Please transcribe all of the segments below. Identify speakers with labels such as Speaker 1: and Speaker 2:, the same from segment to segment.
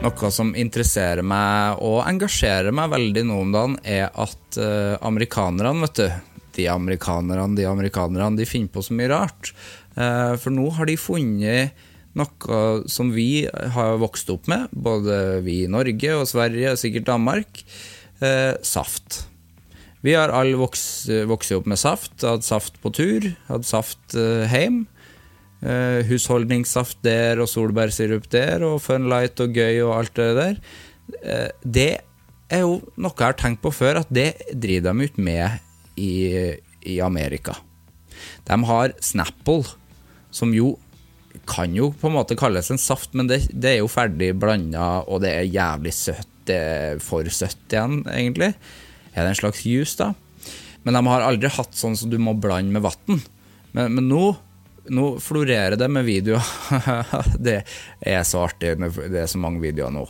Speaker 1: Noe som interesserer meg og engasjerer meg veldig nå om dagen, er at eh, amerikanerne, vet du De amerikanerne, de amerikanerne, de finner på så mye rart. Eh, for nå har de funnet noe som vi har vokst opp med, både vi i Norge og Sverige og sikkert Danmark. Eh, saft. Vi har alle voks, vokst opp med saft, hatt saft på tur, hatt saft eh, heim. Eh, husholdningssaft der og solbærsirup der og Funlight og gøy og alt det der. Eh, det er jo noe jeg har tenkt på før, at det driver de ut med i, i Amerika. De har Snapple, som jo kan jo på en måte kalles en saft, men det, det er jo ferdig blanda, og det er jævlig søtt. Det er for søtt igjen, egentlig. Er det en slags juice, da? Men de har aldri hatt sånn som du må blande med vann. Men, men nå, nå florerer det med videoer. det er så artig, det er så mange videoer nå.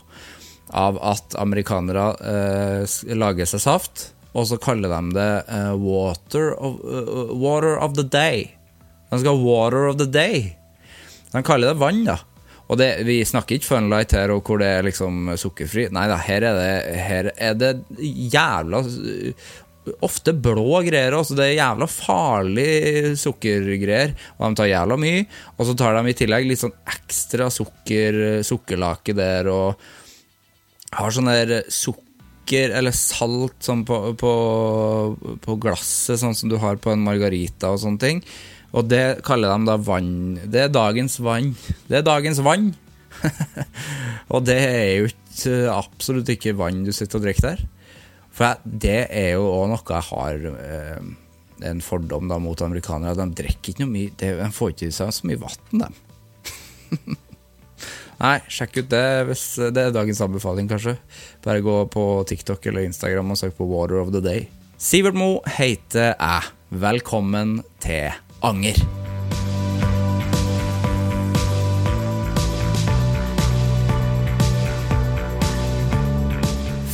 Speaker 1: Av at amerikanere eh, s- lager seg saft, og så kaller de det eh, water, of, eh, water of the day. De skal ha water of the day. De kaller det vann, da. Og det, vi snakker ikke Funlight her og hvor det er liksom sukkerfri. Nei da, her er det, her er det jævla Ofte blå greier også. Det er jævla farlig sukkergreier. Og de tar jævla mye. Og så tar de i tillegg litt sånn ekstra sukker, sukkerlake der og har sånn der sukker eller salt sånn på, på, på glasset, sånn som du har på en margarita og sånne ting. Og det kaller de da vann. Det er dagens vann. Det er dagens vann! og det er jo ikke, eh, absolutt ikke vann du sitter og drikker der. For jeg, det er jo òg noe jeg har eh, en fordom da mot amerikanere. at De drikker ikke noe mye det- De får ikke i seg så mye vann, de. Nei, sjekk ut det hvis det er dagens anbefaling, kanskje. Bare gå på TikTok eller Instagram og søk på Water of the Day. Sivert Mo heter jeg. Velkommen til Anger.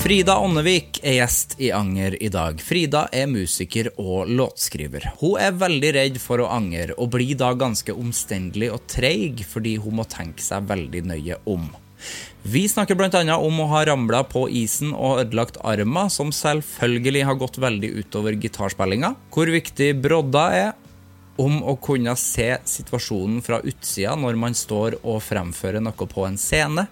Speaker 1: Frida Ånnevik er gjest i Anger i dag. Frida er musiker og låtskriver. Hun er veldig redd for å angre, og blir da ganske omstendelig og treig fordi hun må tenke seg veldig nøye om. Vi snakker bl.a. om å ha ramla på isen og ødelagt armen, som selvfølgelig har gått veldig utover gitarspillinga, hvor viktig brodda er, om å kunne se situasjonen fra utsida når man står og fremfører noe på en scene,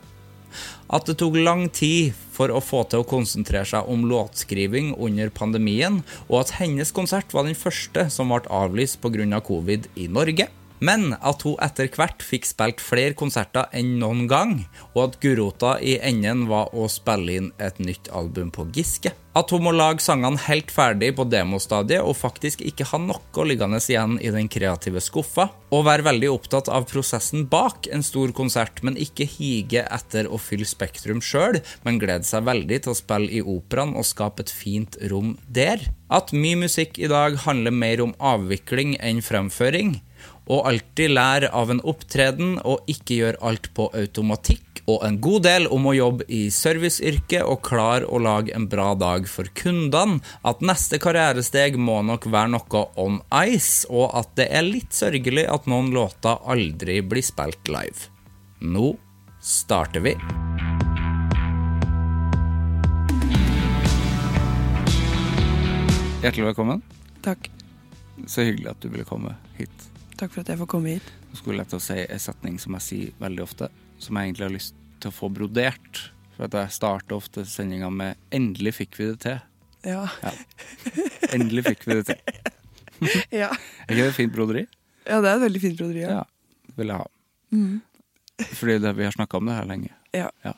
Speaker 1: at det tok lang tid for å få til å konsentrere seg om låtskriving under pandemien, og at hennes konsert var den første som ble avlyst pga. covid i Norge. Men at hun etter hvert fikk spilt flere konserter enn noen gang, og at gulrota i enden var å spille inn et nytt album på Giske. At hun må lage sangene helt ferdig på demostadiet og faktisk ikke ha noe liggende igjen i den kreative skuffa, og være veldig opptatt av prosessen bak en stor konsert, men ikke hige etter å fylle Spektrum sjøl, men glede seg veldig til å spille i operaen og skape et fint rom der. At mye musikk i dag handler mer om avvikling enn fremføring, og alltid lær av en opptreden, og ikke gjør alt på automatikk, og en god del om å jobbe i serviceyrket og klar å lage en bra dag for kundene, at neste karrieresteg må nok være noe on ice, og at det er litt sørgelig at noen låter aldri blir spilt live. Nå starter vi. Hjertelig velkommen.
Speaker 2: Takk.
Speaker 1: Så hyggelig at du ville komme hit.
Speaker 2: Takk for at jeg får komme hit.
Speaker 1: Nå skulle jeg til å si en setning som jeg sier veldig ofte, som jeg egentlig har lyst til å få brodert. For at jeg starter ofte sendinga med 'endelig fikk vi det til'.
Speaker 2: Ja.
Speaker 1: Ja. Endelig fikk vi det til.
Speaker 2: Ja,
Speaker 1: Er ikke det et fint broderi?
Speaker 2: ja det er et veldig fint broderi. Ja.
Speaker 1: Det vil jeg ha. Fordi det, vi har snakka om det her lenge.
Speaker 2: Ja.
Speaker 1: Det-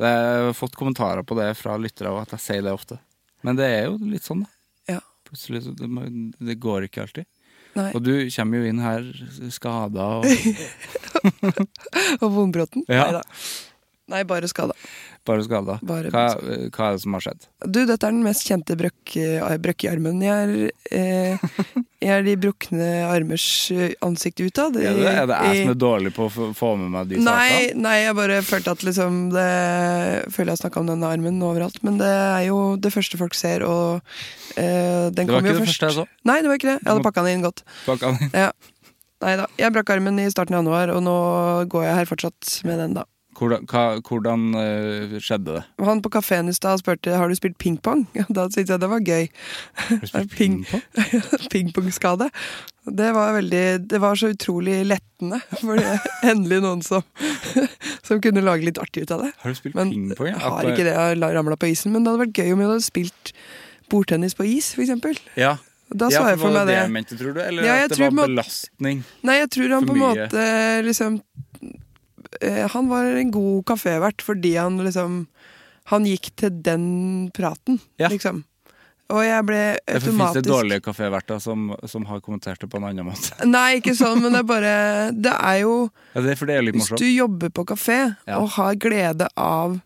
Speaker 1: Jeg har fått kommentarer på det fra lyttere og at jeg sier det ofte. Men det er jo litt sånn, da.
Speaker 2: ja.
Speaker 1: Plutselig så det, må- det går ikke alltid.
Speaker 2: Nei.
Speaker 1: Og du kommer jo inn her skada og
Speaker 2: Og vonbroten?
Speaker 1: Ja.
Speaker 2: Neida. Nei, bare skada.
Speaker 1: bare skada.
Speaker 2: Bare-
Speaker 1: Hva, hva er det som har skjedd?
Speaker 2: Du, dette er den mest kjente brøkk, eh, brøkk i armen. Jeg er, eh, jeg er de brukne armers eh, ansikt utad.
Speaker 1: Er det, er det jeg som
Speaker 2: I-
Speaker 1: er dårlig på å få- få med meg de sakene?
Speaker 2: Nei, nei, jeg bare følte at liksom det, Føler jeg snakka om denne armen overalt, men det er jo det første folk ser, og eh,
Speaker 1: Det
Speaker 2: den
Speaker 1: var
Speaker 2: kom jo
Speaker 1: ikke det
Speaker 2: først.
Speaker 1: første jeg så.
Speaker 2: Nei, det var ikke det. Jeg hadde pakka den inn godt.
Speaker 1: Bak-
Speaker 2: Ja. Nei da. Jeg brakk armen i starten av januar, og nå går jeg her fortsatt med den, da.
Speaker 1: Hvordan, hva, hvordan eh, skjedde det?
Speaker 2: Han på kafeen i stad spurte har du spilt pingpong. Da syntes jeg det var gøy.
Speaker 1: spilt
Speaker 2: Ping- Pingpongskade. Det var veldig Det var så utrolig lettende. For det er endelig noen som, som kunne lage litt artig ut av det.
Speaker 1: Har du spilt
Speaker 2: Men
Speaker 1: pingpong?
Speaker 2: jeg
Speaker 1: ja?
Speaker 2: har
Speaker 1: At-
Speaker 2: ikke det. Jeg har ramla på isen. Men det hadde vært gøy om jeg hadde spilt bordtennis på is, f.eks.
Speaker 1: Ja.
Speaker 2: Da så jeg for
Speaker 1: var
Speaker 2: meg det.
Speaker 1: jeg mente, tror du? Eller
Speaker 2: Ja,
Speaker 1: at
Speaker 2: jeg
Speaker 1: det
Speaker 2: tror
Speaker 1: var
Speaker 2: må-
Speaker 1: belastning?
Speaker 2: Nei, jeg tror han
Speaker 1: For
Speaker 2: på en
Speaker 1: mye.
Speaker 2: måte liksom eh, Han var en god kafévert fordi han liksom Han gikk til den praten,
Speaker 1: Ja.
Speaker 2: liksom. Og jeg ble
Speaker 1: Derfor finnes det
Speaker 2: automatisk
Speaker 1: dårlige kaféverter som, som har kommentert det på en annen måte.
Speaker 2: Nei, ikke sånn, men det er bare Det er jo
Speaker 1: Ja, det er for det er litt
Speaker 2: Hvis
Speaker 1: morsomt.
Speaker 2: du jobber på kafé
Speaker 1: Ja.
Speaker 2: og har glede av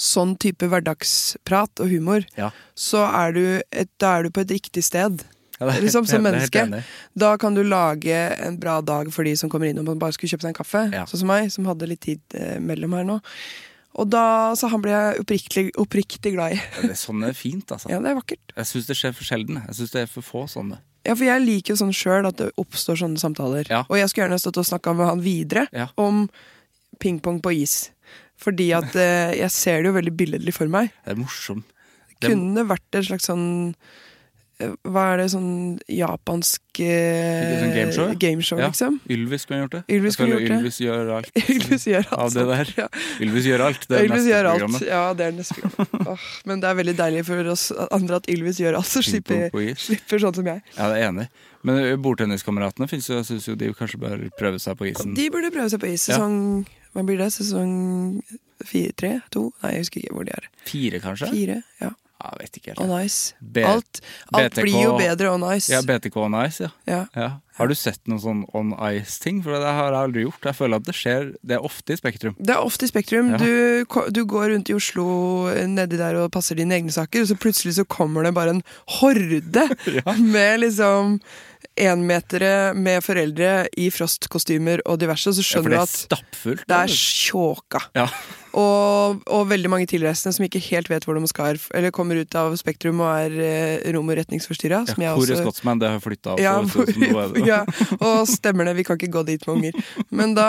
Speaker 2: sånn type hverdagsprat og humor,
Speaker 1: Ja.
Speaker 2: så er du, et, da er du på et riktig sted.
Speaker 1: Ja, det er
Speaker 2: liksom
Speaker 1: helt-
Speaker 2: Som
Speaker 1: det er helt
Speaker 2: menneske.
Speaker 1: enig.
Speaker 2: Da kan du lage en bra dag for de som kommer innom og bare skulle kjøpe seg en kaffe.
Speaker 1: Ja.
Speaker 2: Sånn som meg, som hadde litt tid eh, mellom her nå. Og da, Så han ble jeg oppriktig, oppriktig glad i.
Speaker 1: Ja, det er sånn det er fint, altså.
Speaker 2: Ja, det er vakkert.
Speaker 1: Jeg syns det skjer for sjelden. Jeg syns det er for få sånne.
Speaker 2: Ja, For jeg liker jo sånn sjøl at det oppstår sånne samtaler.
Speaker 1: Ja.
Speaker 2: Og jeg skulle gjerne stått og snakka med han videre
Speaker 1: Ja.
Speaker 2: om pingpong på is. Fordi at eh, jeg ser det jo veldig billedlig for meg.
Speaker 1: Det er morsomt. Det-
Speaker 2: Kunne vært et slags sånn eh, hva er det sånn japansk eh,
Speaker 1: Sånn gameshow, ja.
Speaker 2: gameshow,
Speaker 1: Ja.
Speaker 2: liksom?
Speaker 1: Ylvis kunne gjort det.
Speaker 2: Ylvis
Speaker 1: Jeg
Speaker 2: kunne
Speaker 1: føler
Speaker 2: gjort det.
Speaker 1: Ylvis gjør alt.
Speaker 2: Ylvis gjør alt.
Speaker 1: Av det
Speaker 2: sånt.
Speaker 1: der.
Speaker 2: altså. Ja.
Speaker 1: Ylvis gjør alt. Det er
Speaker 2: Ylvis
Speaker 1: neste
Speaker 2: gjør alt.
Speaker 1: programmet.
Speaker 2: Ja, det er neste program. Åh, men det er veldig deilig for oss andre at Ylvis gjør alt, så slipper,
Speaker 1: Pingpong på is.
Speaker 2: slipper sånn som jeg.
Speaker 1: Ja, det er enig. Men ø, bordtenniskameratene finnes jo, jeg synes jo de kanskje bør prøve seg på isen.
Speaker 2: De burde prøve seg på is. Sesong Hva blir det? Sesong fire? Tre? To? Nei, jeg husker ikke hvor de er.
Speaker 1: Fire, kanskje?
Speaker 2: Fire? Ja.
Speaker 1: Ja, jeg vet ikke
Speaker 2: On
Speaker 1: helt.
Speaker 2: ice.
Speaker 1: B-
Speaker 2: alt alt
Speaker 1: BTK.
Speaker 2: blir jo bedre on ice.
Speaker 1: Ja, BTK on ice, ja.
Speaker 2: Ja.
Speaker 1: ja. Har du sett noen sånn on ice-ting? For det har jeg aldri gjort. Jeg føler at det skjer Det er ofte i Spektrum.
Speaker 2: Det er ofte i Spektrum.
Speaker 1: Ja.
Speaker 2: Du, ko- du går rundt i Oslo eh, nedi der og passer dine egne saker, og så plutselig så kommer det bare en horde med liksom enmetere med foreldre i frostkostymer og diverse, og
Speaker 1: Ja,
Speaker 2: så
Speaker 1: for
Speaker 2: skjønner
Speaker 1: det
Speaker 2: du
Speaker 1: er
Speaker 2: at
Speaker 1: stappfullt.
Speaker 2: det er
Speaker 1: eller?
Speaker 2: tjåka.
Speaker 1: ja.
Speaker 2: Og, og veldig mange tilreisende som ikke helt vet hvor de skal, eller kommer ut av Spektrum og er eh, rom- og retningsforstyrra. som
Speaker 1: ja,
Speaker 2: jeg
Speaker 1: Hvor
Speaker 2: også-
Speaker 1: er Scotsman? Det har flytta
Speaker 2: ja,
Speaker 1: også. så- så nå er
Speaker 2: hvor,
Speaker 1: det-
Speaker 2: ja, og stemmer det, vi kan ikke gå dit med unger. Men da,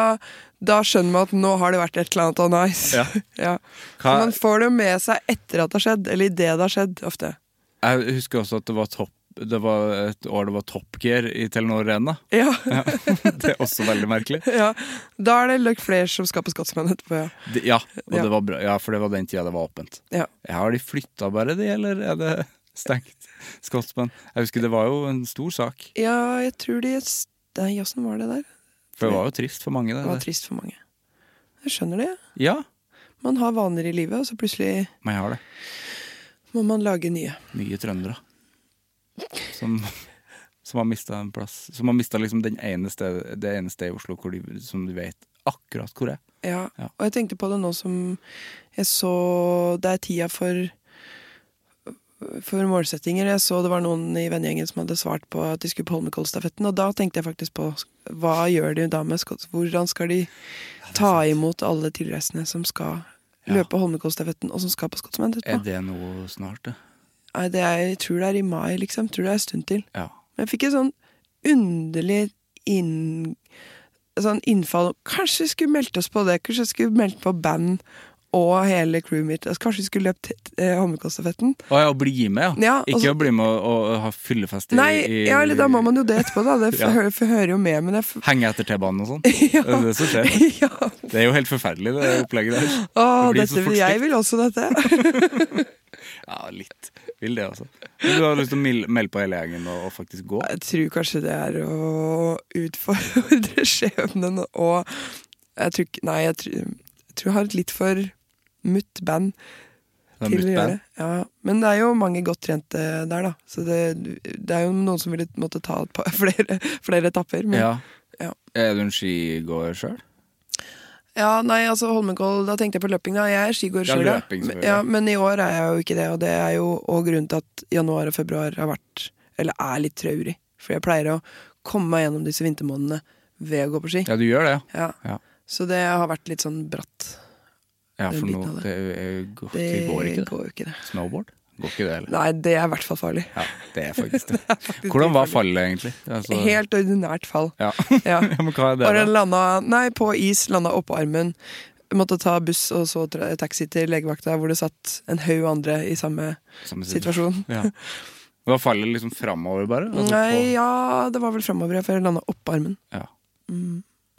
Speaker 2: da skjønner man at nå har det vært et eller annet on ice.
Speaker 1: Ja.
Speaker 2: Ja. Så
Speaker 1: Hva-
Speaker 2: man får det jo med seg etter at det har skjedd, eller idet det har skjedd, ofte.
Speaker 1: Jeg husker også at det var topp det var et år det var Top Gear i Telenor Arena.
Speaker 2: Ja.
Speaker 1: Ja. Det er også veldig merkelig.
Speaker 2: ja. Da er det Luck Flair som skaper Scotsman etterpå, ja.
Speaker 1: Det- Ja, og
Speaker 2: Ja.
Speaker 1: Det var bra. ja, for det var den tida det var åpent.
Speaker 2: ja.
Speaker 1: Ja, har de flytta bare de, eller er det stengt? Scotsman. Jeg husker det var jo en stor sak.
Speaker 2: Ja, jeg tror de Nei, åssen var det der?
Speaker 1: For det var jo trist for mange. Det,
Speaker 2: Det var trist for mange. Jeg skjønner det. ja.
Speaker 1: Ja,
Speaker 2: Man har vaner i livet, og så plutselig
Speaker 1: men jeg har det.
Speaker 2: må man lage nye.
Speaker 1: Mye trøndere. Som, som har mista en plass. Som har mista liksom den ene sted, det ene stedet i Oslo hvor de, som du vet akkurat hvor er.
Speaker 2: Ja.
Speaker 1: Ja.
Speaker 2: og jeg tenkte på det nå som jeg så Det er tida for for målsettinger. Jeg så det var noen i vennegjengen som hadde svart på at de skulle på Holmenkollstafetten, og da tenkte jeg faktisk på hva gjør de da med Skott? Hvordan skal de ta imot alle tilreisende som skal løpe Holmenkollstafetten, og som skal på Skotsmenn
Speaker 3: Er
Speaker 2: etterpå?
Speaker 3: det noe snart, det?
Speaker 2: Nei, det er, jeg tror det er i mai, liksom. Jeg tror det er en stund til.
Speaker 3: Ja.
Speaker 2: Men jeg fikk et sånn underlig inn, sånn innfall Kanskje vi skulle meldt oss på det? Kanskje jeg skulle meldt på band og hele crewet mitt? Altså, kanskje vi skulle løpt eh, Holmenkollstafetten?
Speaker 3: Å ja, å bli med, ja.
Speaker 2: Ja,
Speaker 3: Ikke
Speaker 2: altså-
Speaker 3: å bli med og, og ha fyllefest i,
Speaker 2: Nei,
Speaker 3: i
Speaker 2: ja, eller da må man jo det etterpå, da. Det f-
Speaker 3: Ja.
Speaker 2: hø- f- hører jo med, men jeg f
Speaker 3: Henge etter T-banen og sånn. Det er det som skjer.
Speaker 2: ja.
Speaker 3: Det er jo helt forferdelig, det opplegget der.
Speaker 2: Å,
Speaker 3: Det blir så
Speaker 2: dette,
Speaker 3: fort
Speaker 2: jeg
Speaker 3: stygt.
Speaker 2: vil også dette.
Speaker 3: Ja, litt. Vil det, altså. Men du har lyst til å mil- melde på hele gjengen og, og faktisk gå?
Speaker 2: Jeg tror kanskje det er å utfordre skjebnen og Jeg tror ikke Nei, jeg tror, jeg tror jeg har et litt for mutt band til
Speaker 3: Det er
Speaker 2: å
Speaker 3: mitt
Speaker 2: gjøre
Speaker 3: band.
Speaker 2: det. Ja. Men det er jo mange godt trente der, da. Så det, det er jo noen som ville måtte ta et par, flere, flere etapper. Men
Speaker 3: Ja.
Speaker 2: Ja.
Speaker 3: Er du en skigåer sjøl?
Speaker 2: Ja, nei, altså Holmenkoll, da tenkte jeg på løping da. Jeg er skigåer
Speaker 3: Ja,
Speaker 2: sjøl,
Speaker 3: løping, selvfølgelig.
Speaker 2: ja, men i år er jeg jo ikke det. Og det er jo også grunnen til at januar og februar har vært, eller er litt traurig. For jeg pleier å komme meg gjennom disse vintermånedene ved å gå på ski.
Speaker 3: Ja, du gjør det, ja.
Speaker 2: Ja.
Speaker 3: Ja.
Speaker 2: Så det har vært litt sånn bratt.
Speaker 3: ja
Speaker 2: Den
Speaker 3: for
Speaker 2: biten
Speaker 3: nå
Speaker 2: av det.
Speaker 3: det, er jo-
Speaker 2: Det
Speaker 3: det går ikke, det.
Speaker 2: går jo ikke det.
Speaker 3: Snowboard? Går ikke det, eller?
Speaker 2: Nei, det er i hvert fall farlig.
Speaker 3: Ja, det er faktisk det. Hvordan var fallet, egentlig? Altså,
Speaker 2: Helt ordinært fall.
Speaker 3: Ja.
Speaker 2: Ja.
Speaker 3: Ja, men hva er det,
Speaker 2: Bare
Speaker 3: da?
Speaker 2: landa Nei, på is, landa oppå armen. Måtte ta buss og så tra- taxi til legevakta, hvor det satt en haug andre i samme
Speaker 3: Samme
Speaker 2: situasjon.
Speaker 3: Ja. Var fallet liksom framover, bare? Altså,
Speaker 2: Nei,
Speaker 3: på-
Speaker 2: ja, det var vel framover jeg, for jeg landa oppå armen.
Speaker 3: ja.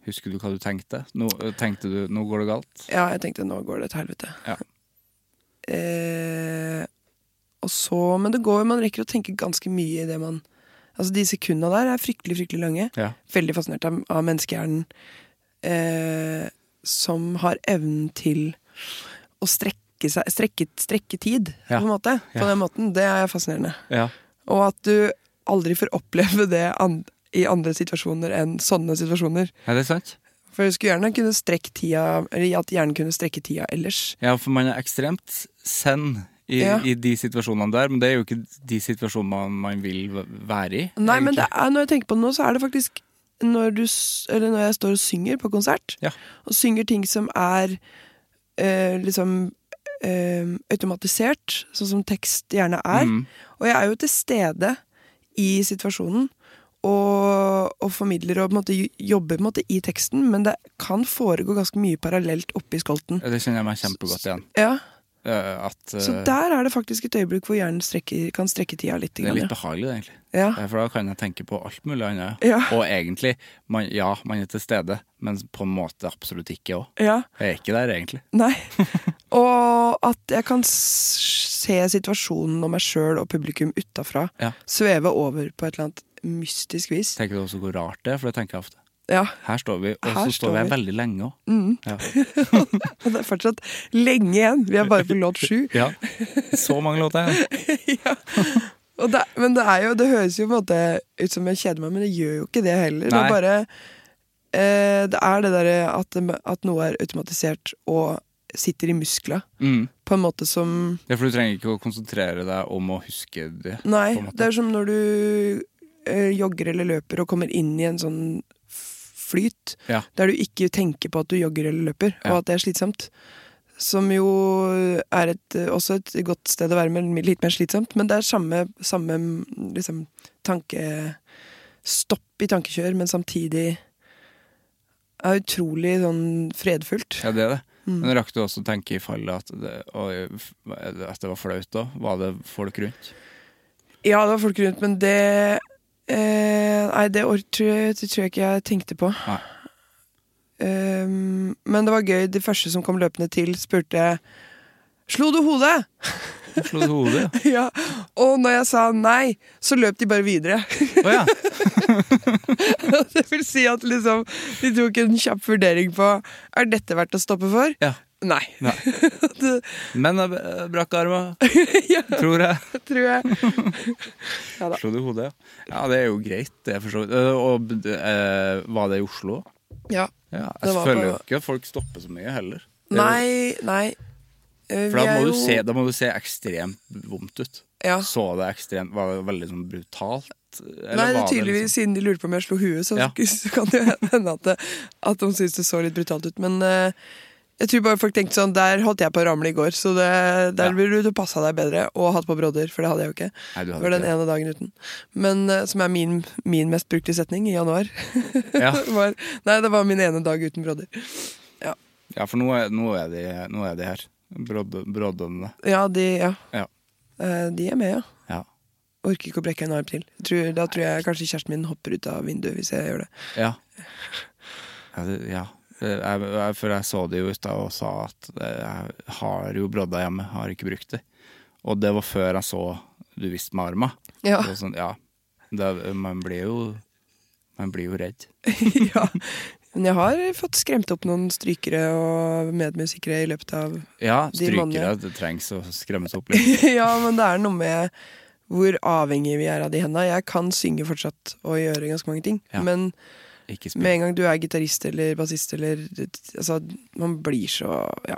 Speaker 3: Husker du hva du tenkte? Nå, tenkte du 'nå går det galt'?
Speaker 2: Ja, jeg tenkte nå går det til helvete.
Speaker 3: Ja.
Speaker 2: Eh, og så, men det går jo, man rekker å tenke ganske mye i det man Altså, de sekundene der er fryktelig, fryktelig lange.
Speaker 3: Ja.
Speaker 2: Veldig fascinert av, av menneskehjernen eh, som har evnen til å strekke seg Strekke, strekke tid,
Speaker 3: Ja.
Speaker 2: på en måte. På
Speaker 3: Ja.
Speaker 2: den måten. Det er fascinerende.
Speaker 3: ja.
Speaker 2: Og at du aldri får oppleve det an i andre situasjoner enn sånne situasjoner.
Speaker 3: Er det sant?
Speaker 2: For jeg skulle gjerne kunne strekke tida Eller at hjernen kunne strekke tida ellers.
Speaker 3: Ja, for man er ekstremt send i,
Speaker 2: Ja.
Speaker 3: i de situasjonene der, men det er jo ikke de situasjonene man, man vil v- være i.
Speaker 2: Nei, men det
Speaker 3: egentlig.
Speaker 2: er, når jeg tenker på det nå, så er det faktisk når, du, s- eller når jeg står og synger på konsert,
Speaker 3: Ja.
Speaker 2: og synger ting som er eh, liksom eh, automatisert, sånn som tekst gjerne er.
Speaker 3: Mm.
Speaker 2: Og jeg er jo til stede i situasjonen. Og, og formidler og på en måte, jo- jobber på en måte i teksten, men det kan foregå ganske mye parallelt oppi skolten.
Speaker 3: Ja, Det kjenner jeg meg kjempegodt igjen.
Speaker 2: Ja,
Speaker 3: Eh, At eh,
Speaker 2: Så der er det faktisk et øyeblikk hvor hjernen strekker, kan strekke tida litt.
Speaker 3: det er
Speaker 2: grann,
Speaker 3: litt behagelig, egentlig.
Speaker 2: ja.
Speaker 3: Eh, For da kan jeg tenke på alt mulig annet.
Speaker 2: Ja.
Speaker 3: Og egentlig, man, ja, man er til stede, men på en måte absolutt ikke òg.
Speaker 2: Ja. ja.
Speaker 3: Jeg er ikke der, egentlig.
Speaker 2: Nei. Og at jeg kan s- se situasjonen og meg sjøl og publikum utafra
Speaker 3: Ja.
Speaker 2: sveve over på et eller annet mystisk vis.
Speaker 3: Tenker du også hvor rart det er, for det tenker jeg ofte.
Speaker 2: Ja.
Speaker 3: Her står vi, og
Speaker 2: Her
Speaker 3: så står
Speaker 2: står
Speaker 3: vi her
Speaker 2: vi.
Speaker 3: veldig lenge òg. Ja.
Speaker 2: Og det er fortsatt lenge igjen. Vi er bare på låt sju.
Speaker 3: ja. Så mange låter igjen.
Speaker 2: ja. Og det, men det er jo Det høres jo på en måte ut som jeg kjeder meg, men det gjør jo ikke det heller. Det
Speaker 3: Nei.
Speaker 2: er bare eh, Det er det derre at, at noe er automatisert og sitter i muskla
Speaker 3: Mm.
Speaker 2: på en måte som
Speaker 3: Ja, for du trenger ikke å konsentrere deg om å huske det.
Speaker 2: Nei,
Speaker 3: på en måte.
Speaker 2: det er som når du eh, jogger eller løper og kommer inn i en sånn f- flyt,
Speaker 3: Ja.
Speaker 2: der du ikke tenker på at du jogger eller løper,
Speaker 3: Ja.
Speaker 2: og at det er slitsomt. Som jo er et, eh, også et godt sted å være, men litt mer slitsomt. Men det er samme, samme mm, liksom, tankestopp i tankekjør, men samtidig er utrolig sånn fredfullt.
Speaker 3: Ja, det er det.
Speaker 2: Mm.
Speaker 3: Men rakk du også å tenke i fallet at det, og, at det var flaut da? Var det folk rundt?
Speaker 2: Ja, det var folk rundt, men det eh, Nei, det or- tror jeg, det tror jeg ikke jeg tenkte på.
Speaker 3: Nei.
Speaker 2: Ehm, men det var gøy. De første som kom løpende til, spurte Slo du hodet?
Speaker 3: Jeg Slo du hodet? ja.
Speaker 2: ja. Og når jeg sa nei, så løp de bare videre.
Speaker 3: Å ja.
Speaker 2: det vil si at liksom, de tok en kjapp vurdering på Er dette verdt å stoppe for.
Speaker 3: ja.
Speaker 2: Nei.
Speaker 3: Nei.
Speaker 2: det
Speaker 3: Men jeg b- brakk armen,
Speaker 2: ja,
Speaker 3: tror jeg.
Speaker 2: tror jeg. ja da.
Speaker 3: Slo du hodet, ja. Ja, det er jo greit, det, for så vidt. Øh, Og b- d- eh, var det i Oslo?
Speaker 2: Ja.
Speaker 3: Ja,
Speaker 2: Det
Speaker 3: jeg
Speaker 2: var
Speaker 3: føler jo
Speaker 2: på-
Speaker 3: ikke at folk stopper så mye heller. Det er jo-
Speaker 2: Nei, nei. Eh,
Speaker 3: For da
Speaker 2: vi er
Speaker 3: må,
Speaker 2: jo-
Speaker 3: du se, da må du se ekstremt vondt ut.
Speaker 2: Ja.
Speaker 3: Så det ekstremt Var det veldig sånn brutalt? Eller
Speaker 2: Nei, det
Speaker 3: var
Speaker 2: er tydeligvis Siden de lurte på om jeg slo huet, så,
Speaker 3: liksom. Ja.
Speaker 2: så kan det jo hende at, det, at de syntes det så litt brutalt ut. Men eh, jeg tror bare folk tenkte sånn Der holdt jeg på å ramle i går, så det, der
Speaker 3: Ja.
Speaker 2: ville du passa deg bedre. Og hatt på brodder, for det hadde jeg jo ikke.
Speaker 3: Nei,
Speaker 2: det
Speaker 3: du hadde
Speaker 2: var den
Speaker 3: ikke
Speaker 2: ene dagen uten. Men eh, Som er min, min mest brukte setning i januar.
Speaker 3: liksom- Ja.
Speaker 2: var, nei, det var min ene dag uten brodder.
Speaker 3: liksom, ja, for nå er, nå er, de, nå er de her. Brodde- Broddene.
Speaker 2: Ja, de, ja.
Speaker 3: Ja.
Speaker 2: Eh, de er med, ja.
Speaker 3: Ja.
Speaker 2: Orker ikke å brekke en arm til. Jeg Tror, da tror jeg kanskje kjæresten min hopper ut av vinduet hvis jeg gjør det.
Speaker 3: Ja. ja, det, ja. Det- Jeg, jeg, for jeg så det jo ut da og sa at eh, jeg har jo brodder hjemme, har ikke brukt det. Og det var før jeg så du viste meg armen.
Speaker 2: Ja.
Speaker 3: Det var Sånn, ja. Det, man blir jo Man blir jo redd.
Speaker 2: ja. Men jeg har fått skremt opp noen strykere og medmusikere i løpet av
Speaker 3: Ja,
Speaker 2: De
Speaker 3: strykere.
Speaker 2: mannene.
Speaker 3: Det trengs å skremmes opp litt.
Speaker 2: Ja, men det er noe med hvor avhengig vi er av de hendene. Jeg kan synge fortsatt og gjøre ganske mange ting,
Speaker 3: Ja.
Speaker 2: men
Speaker 3: Ikke spill.
Speaker 2: med en gang du er gitarist eller bassist eller Altså, man blir så Ja.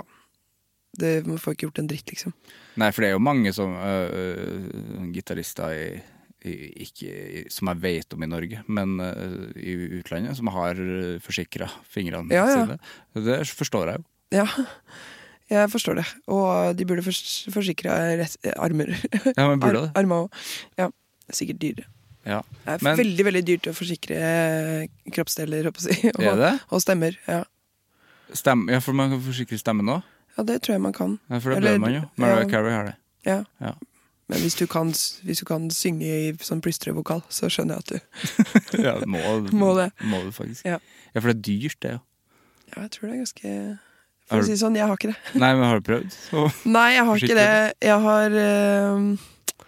Speaker 2: Det, man får ikke gjort en dritt, liksom.
Speaker 3: Nei, for det er jo mange som øh, øh, gitarister i, i, ikke, i- som jeg vet om i Norge, men øh, i utlandet, som har øh, forsikra fingrene
Speaker 2: Ja, ja.
Speaker 3: sine. Det forstår jeg jo.
Speaker 2: Ja. Jeg forstår det. Og de burde fors forsikre rett, armer.
Speaker 3: Ja, men burde
Speaker 2: Ar
Speaker 3: det.
Speaker 2: armer òg. Ja. Det er Sikkert dyrere.
Speaker 3: Ja.
Speaker 2: Det er
Speaker 3: Men-
Speaker 2: veldig veldig dyrt å forsikre eh, kroppsdeler håper jeg, å si,
Speaker 3: Er
Speaker 2: og,
Speaker 3: det?
Speaker 2: og stemmer. Ja.
Speaker 3: Stem, ja, for man kan forsikre stemmen òg.
Speaker 2: ja, det tror jeg man kan.
Speaker 3: Ja, for det
Speaker 2: Eller-
Speaker 3: bør man jo. Mariah
Speaker 2: ja.
Speaker 3: Carey har det.
Speaker 2: Ja.
Speaker 3: Ja.
Speaker 2: Men hvis du, kan, s- hvis du kan synge i sånn plystrevokal, så skjønner jeg at du
Speaker 3: ja, må,
Speaker 2: Må det.
Speaker 3: Må det faktisk.
Speaker 2: Ja.
Speaker 3: ja, for det er dyrt, det jo.
Speaker 2: Ja, jeg tror det er ganske
Speaker 3: Er
Speaker 2: For
Speaker 3: du-
Speaker 2: å si det sånn, jeg har ikke det.
Speaker 3: Nei, men har du prøvd? Så.
Speaker 2: Nei, jeg har ikke det. Jeg har eh,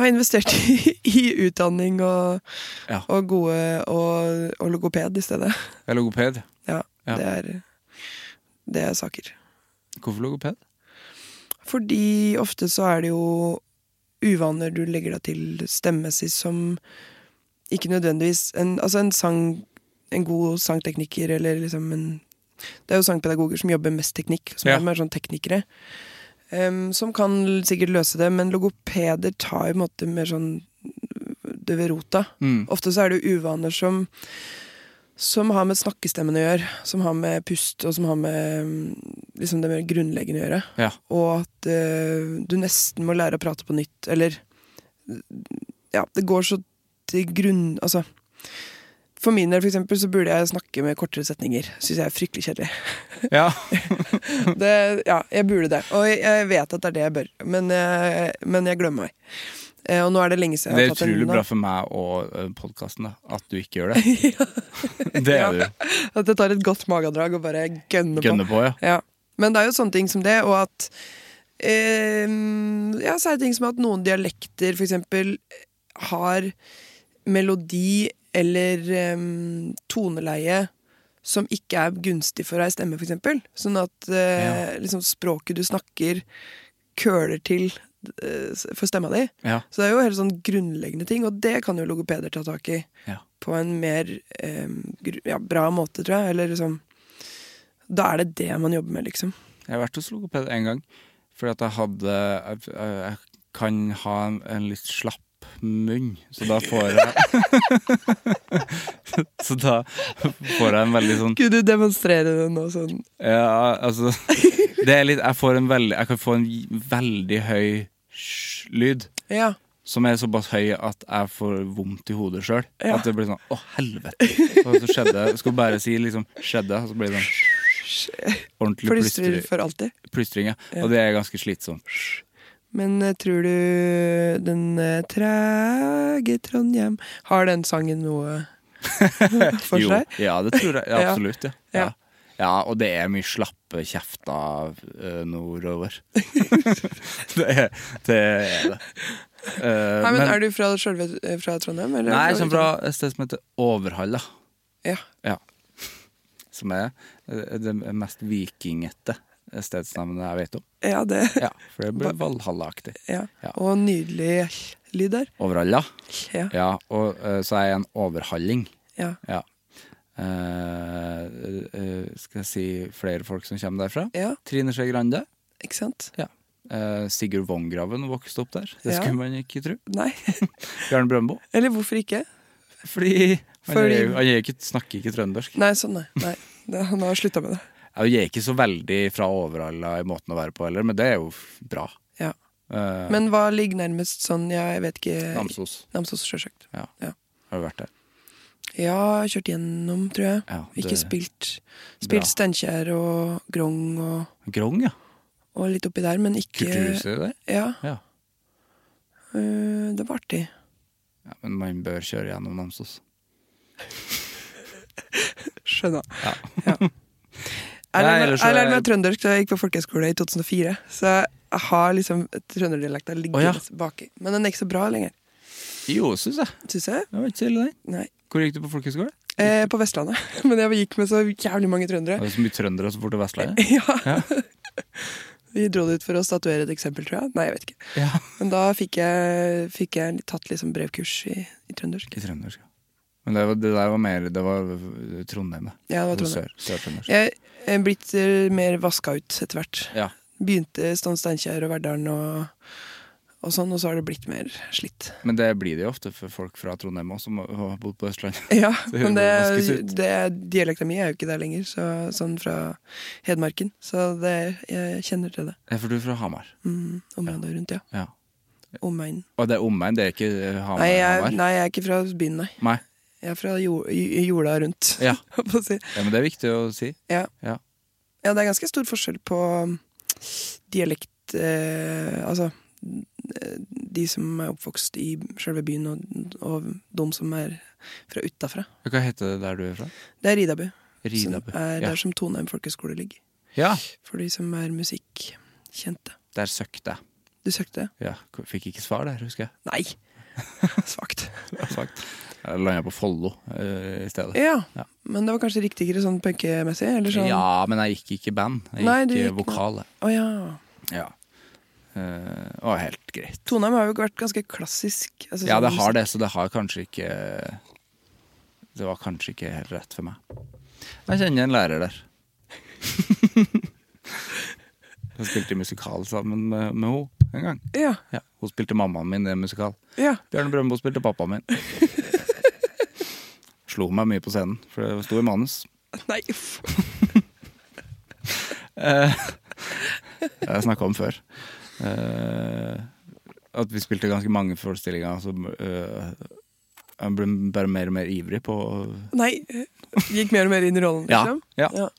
Speaker 2: har investert i, i utdanning og,
Speaker 3: Ja.
Speaker 2: og gode og, og logoped i stedet.
Speaker 3: Jeg er logoped.
Speaker 2: Ja,
Speaker 3: Ja.
Speaker 2: Det, er, det er saker.
Speaker 3: Hvorfor logoped?
Speaker 2: Fordi ofte så er det jo uvaner du legger deg til stemmessig som ikke nødvendigvis en, Altså en sang En god sangtekniker eller liksom en Det er jo sangpedagoger som jobber mest teknikk, som
Speaker 3: Ja.
Speaker 2: er mer sånn teknikere. em, som kan l- sikkert løse det, men logopeder tar jo på en måte mer sånn det ved rota.
Speaker 3: Mm.
Speaker 2: Ofte så er det jo uvaner som som har med snakkestemmen å gjøre, som har med pust og som har med mm, liksom det mer grunnleggende å gjøre
Speaker 3: Ja.
Speaker 2: og at eh, du nesten må lære å prate på nytt, eller Ja, det går så til grunn Altså, for min del, for eksempel, så burde jeg snakke med kortere setninger. Syns jeg er fryktelig kjedelig.
Speaker 3: ja.
Speaker 2: Det, ja, jeg burde det. Og jeg, jeg vet at det er det jeg bør, men, jeg- men jeg glemmer meg. Eh, og nå er det lenge siden
Speaker 3: Det
Speaker 2: jeg
Speaker 3: er
Speaker 2: har tatt en
Speaker 3: utrolig bra
Speaker 2: da.
Speaker 3: for meg og podkasten at du ikke gjør det. det er du.
Speaker 2: At jeg tar et godt magedrag og bare gønner på.
Speaker 3: Gønne på, ja.
Speaker 2: Ja. Men det er jo sånne ting som det, og at eh, Ja, så er det ting som at noen dialekter for eksempel har melodi eller eh, toneleie som ikke er gunstig for ei stemme, for eksempel. Sånn at eh, liksom språket du snakker, køler til eh, for stemma di.
Speaker 3: ja.
Speaker 2: Så det er jo helt sånn grunnleggende ting, og det kan jo logopeder ta tak i
Speaker 3: Ja.
Speaker 2: på en mer eh, gru- ja, bra måte, tror jeg. Eller liksom Da er det det man jobber med, liksom.
Speaker 3: Jeg har vært hos logoped en gang, fordi at jeg hadde Jeg, jeg- jeg kan ha en, en litt slapp munn, så da får jeg Så da får jeg en veldig sånn
Speaker 2: Skulle du demonstrere det nå sånn?
Speaker 3: Ja, altså Det er litt Jeg får en veldig Jeg kan få en veldig høy lyd.
Speaker 2: Ja.
Speaker 3: som er såpass høy at jeg får vondt i hodet sjøl.
Speaker 2: Ja.
Speaker 3: At det blir sånn Å, helvete! Og så skjedde Jeg skulle bare si liksom Skjedde, og så blir det sånn Ordentlig
Speaker 2: Plystrer
Speaker 3: plystring.
Speaker 2: for alltid.
Speaker 3: plystring ja. Og det er ganske slitsomt.
Speaker 2: Men eh, tror du den eh, trege Trondhjem Har den sangen noe for
Speaker 3: Jo, Eh,
Speaker 2: seg?
Speaker 3: Ja, det tror jeg. Ja,
Speaker 2: Ja.
Speaker 3: absolutt. Ja. Ja.
Speaker 2: Ja.
Speaker 3: ja, og det er mye slappe kjefter eh, nordover. det, er, det er det. Eh,
Speaker 2: Nei, men,
Speaker 3: men-
Speaker 2: Er du fra, sjølve, eh, fra Trondheim? Eller liksom-
Speaker 3: Nei, sånn fra et sted som heter Overhall, da.
Speaker 2: Ja.
Speaker 3: Ja. Som er eh, det mest vikingete stedsnavnet jeg vet om.
Speaker 2: ja, det.
Speaker 3: Ja, For det blir Valhalla-aktig.
Speaker 2: Ja.
Speaker 3: Ja.
Speaker 2: Og nydelig lyd der.
Speaker 3: Overhalla.
Speaker 2: Ja.
Speaker 3: Ja, og eh, så er jeg en overhalling.
Speaker 2: ja.
Speaker 3: Ja. Eh, eh, skal jeg si flere folk som kommer derfra?
Speaker 2: Ja.
Speaker 3: Trine Skei Grande.
Speaker 2: Ikke sant?
Speaker 3: Eh, Sigurd Vongraven vokste opp der. Det
Speaker 2: Ja.
Speaker 3: skulle man ikke tro.
Speaker 2: Nei.
Speaker 3: Bjørn Brøndbo.
Speaker 2: Eller hvorfor ikke?
Speaker 3: Fordi han,
Speaker 2: Fordi-
Speaker 3: Er, jo- han er ikke, snakker ikke trøndersk.
Speaker 2: Nei, sånn, nei. nei. Det, han har slutta med det.
Speaker 3: Ja, Jeg er ikke så veldig fra overalla i måten å være på heller, men det er jo f- bra.
Speaker 2: Ja.
Speaker 3: Eh,
Speaker 2: Men hva ligger nærmest sånn, jeg vet ikke
Speaker 3: Namsos
Speaker 2: Namsos, sjølsagt.
Speaker 3: Ja.
Speaker 2: Ja.
Speaker 3: har jo vært der.
Speaker 2: Ja, kjørt gjennom, tror jeg.
Speaker 3: Ja,
Speaker 2: Ikke
Speaker 3: det-
Speaker 2: spilt.
Speaker 3: Bra.
Speaker 2: Spilt Steinkjer og Grong og,
Speaker 3: Grong, ja.
Speaker 2: og litt oppi der, men ikke
Speaker 3: Kulturhuset der.
Speaker 2: Ja,
Speaker 3: Ja.
Speaker 2: øh, det var artig.
Speaker 3: ja. Men man bør kjøre gjennom Namsos.
Speaker 2: Skjønner.
Speaker 3: Ja.
Speaker 2: Jeg
Speaker 3: Nei, altså,
Speaker 2: lærte
Speaker 3: ellers så
Speaker 2: jeg lærte
Speaker 3: er-
Speaker 2: meg trøndersk da jeg gikk på folkehøyskole i 2004, så jeg har liksom trønderdialekta liggende
Speaker 3: Å, ja.
Speaker 2: baki. Men den er ikke så bra lenger,
Speaker 3: Jo, syns jeg.
Speaker 2: syns jeg.
Speaker 3: Det var ikke så ille, det.
Speaker 2: Nei.
Speaker 3: Hvor gikk du på folkehøyskole?
Speaker 2: Eh, på Vestlandet. Men jeg gikk med så jævlig mange trøndere.
Speaker 3: Det er så mye trøndere som bor til Vestlandet.
Speaker 2: Ja.
Speaker 3: Ja.
Speaker 2: Vi dro dit for å statuere et eksempel, tror jeg. Nei, jeg vet ikke.
Speaker 3: Ja.
Speaker 2: Men da fikk jeg, fikk jeg tatt liksom brevkurs i, i trøndersk.
Speaker 3: I trøndersk, ja. Men det, var, det der var mer Det var øh, Trondheim, det.
Speaker 2: Ja, det var
Speaker 3: Eller
Speaker 2: Trondheim.
Speaker 3: Sør- Sør-Trøndersk.
Speaker 2: Jeg er blitt eh, mer vaska ut etter hvert.
Speaker 3: Ja.
Speaker 2: Begynte Stan Steinkjer og Verdalen og, og sånn, og så har det blitt mer slitt.
Speaker 3: Men det blir det jo ofte for folk fra Trondheim òg, som har bodd på Østlandet.
Speaker 2: Ja,
Speaker 3: Det
Speaker 2: men det,
Speaker 3: vaskes ut.
Speaker 2: det dialekta mi er jo ikke der lenger, så, sånn fra Hedmarken. Så det, jeg kjenner til det.
Speaker 3: Ja, for du er fra Hamar.
Speaker 2: Mm, området rundt, ja.
Speaker 3: Ja.
Speaker 2: Omegn.
Speaker 3: Og det er omegn, det er ikke eh, Hamar?
Speaker 2: Nei, jeg-
Speaker 3: Hamar.
Speaker 2: nei, jeg er ikke fra byen, nei.
Speaker 3: Nei.
Speaker 2: Jeg er fra jor- j- jorda rundt,
Speaker 3: Ja.
Speaker 2: holdt på å si.
Speaker 3: ja, men det er viktig å si.
Speaker 2: Ja.
Speaker 3: Ja.
Speaker 2: Ja, det er ganske stor forskjell på um, dialekt eh, Altså eh, de som er oppvokst i selve byen, og, og de som er fra utafra.
Speaker 3: Hva heter det der du er fra?
Speaker 2: Det er Ridabu,
Speaker 3: Ridabu.
Speaker 2: som er
Speaker 3: Ja.
Speaker 2: der som Toneheim folkeskole ligger.
Speaker 3: ja,
Speaker 2: For de som er musikkjente.
Speaker 3: der søkte jeg.
Speaker 2: Du søkte?
Speaker 3: Ja, k- fikk ikke svar der, husker jeg.
Speaker 2: Nei! Svakt.
Speaker 3: Sagt. Jeg landa på Follo eh, i stedet.
Speaker 2: Ja,
Speaker 3: Ja.
Speaker 2: men det var kanskje riktigere sånn punkemessig? Eller sånn
Speaker 3: Ja, men jeg gikk ikke i band. Jeg gikk,
Speaker 2: Nei, du
Speaker 3: eh,
Speaker 2: gikk-
Speaker 3: vokal. jeg.
Speaker 2: Å ja.
Speaker 3: Ja. Eh, og helt greit.
Speaker 2: Toneheim har jo vært ganske klassisk. altså
Speaker 3: Ja,
Speaker 2: sånn
Speaker 3: det har det, så det har kanskje ikke Det var kanskje ikke helt rett for meg. Jeg kjenner en lærer der. Jeg spilte musikal sammen med, med henne en gang.
Speaker 2: musikk. Ja,
Speaker 3: Ja, hun spilte mammaen min i en musikal.
Speaker 2: ja.
Speaker 3: Bjørne Brøndbo spilte pappaen min. Slo meg mye på scenen, for det sto i manus.
Speaker 2: Nei, uff.
Speaker 3: Det har Eh, jeg snakka om før. Eh, at vi spilte ganske mange forestillinger. Så, eh, jeg ble bare mer og mer ivrig på
Speaker 2: Nei. Gikk mer og mer inn i rollen,
Speaker 3: Ja,
Speaker 2: liksom?
Speaker 3: ja.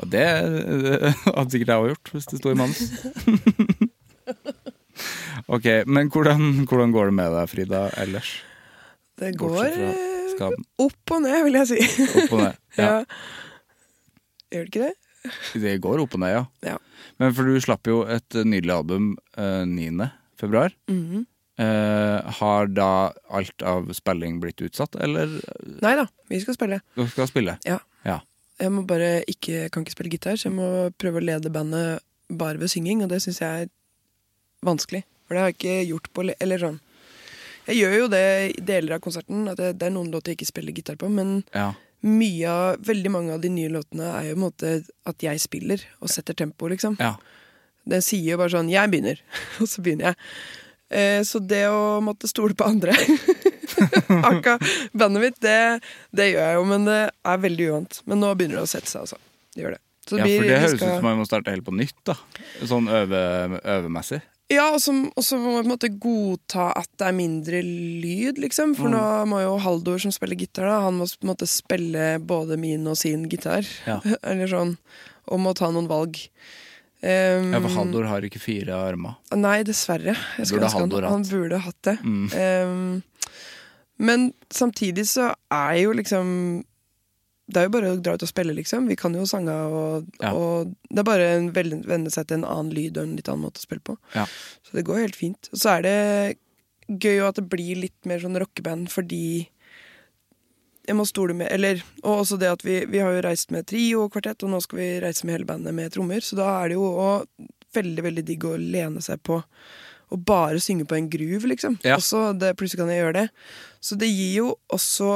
Speaker 3: Og det eh, hadde sikkert jeg òg gjort, hvis det sto i manus. ok, men hvordan, hvordan går det med deg, Frida, ellers?
Speaker 2: Det går
Speaker 3: Bortsett fra skaden.
Speaker 2: eh, opp og ned, vil jeg si.
Speaker 3: Opp og ned.
Speaker 2: Ja.
Speaker 3: Ja,
Speaker 2: Gjør det ikke det?
Speaker 3: det går opp og ned, ja.
Speaker 2: Ja.
Speaker 3: Men for du slapp jo et nydelig album eh, 9. februar.
Speaker 2: Mhm.
Speaker 3: Eh, har da alt av spilling blitt utsatt, eller
Speaker 2: Nei da, vi skal spille.
Speaker 3: dere skal spille?
Speaker 2: Ja.
Speaker 3: Ja.
Speaker 2: Jeg må bare ikke, jeg kan ikke spille gitar, så jeg må prøve å lede bandet bare ved synging, og det syns jeg er vanskelig. For det har jeg ikke gjort på le- Eller sånn. Jeg gjør jo det i deler av konserten, at det, det er noen låter jeg ikke spiller gitar på, men
Speaker 3: ja.
Speaker 2: mye av, veldig mange av de nye låtene er jo på en måte at jeg spiller og setter tempo, liksom.
Speaker 3: ja.
Speaker 2: Den sier jo bare sånn 'jeg begynner', og så begynner jeg. Eh, så det å måtte stole på andre Akka bandet mitt, det, det gjør jeg jo, men det er veldig uvant. Men nå begynner det å sette seg, altså. Det gjør det. Så
Speaker 3: ja, for det
Speaker 2: vi
Speaker 3: høres
Speaker 2: skal-
Speaker 3: ut som man må starte helt på nytt, da. Sånn øve, øvemessig.
Speaker 2: Ja, og så og så må man på en måte godta at det er mindre lyd, liksom.
Speaker 3: Mm.
Speaker 2: For nå må jo Haldor, som spiller gitar, da, han må på en måte spille både min og sin gitar.
Speaker 3: Ja.
Speaker 2: Eller sånn. Og må ta noen valg. Um,
Speaker 3: Ja, for Haldor har ikke fire armer.
Speaker 2: Nei, dessverre. Jeg skulle
Speaker 3: Burde
Speaker 2: ønske
Speaker 3: Haldor
Speaker 2: han, han
Speaker 3: hatt. Mm.
Speaker 2: burde hatt det. Ehm, men samtidig så er jo liksom Det er jo bare å dra ut og spille, liksom. Vi kan jo sanger og,
Speaker 3: Ja.
Speaker 2: og Det er bare å vel- venne seg til en annen lyd og en litt annen måte å spille på.
Speaker 3: Ja.
Speaker 2: Så det går helt fint. Og så er det gøy jo at det blir litt mer sånn rockeband fordi jeg må stole med, eller, Og også det at vi, vi har jo reist med trio og kvartett, og nå skal vi reise med hele bandet med trommer. Så da er det jo også veldig veldig digg å lene seg på å bare synge på en groove, liksom.
Speaker 3: Ja.
Speaker 2: Også det, plutselig kan jeg gjøre det. Så det gir jo også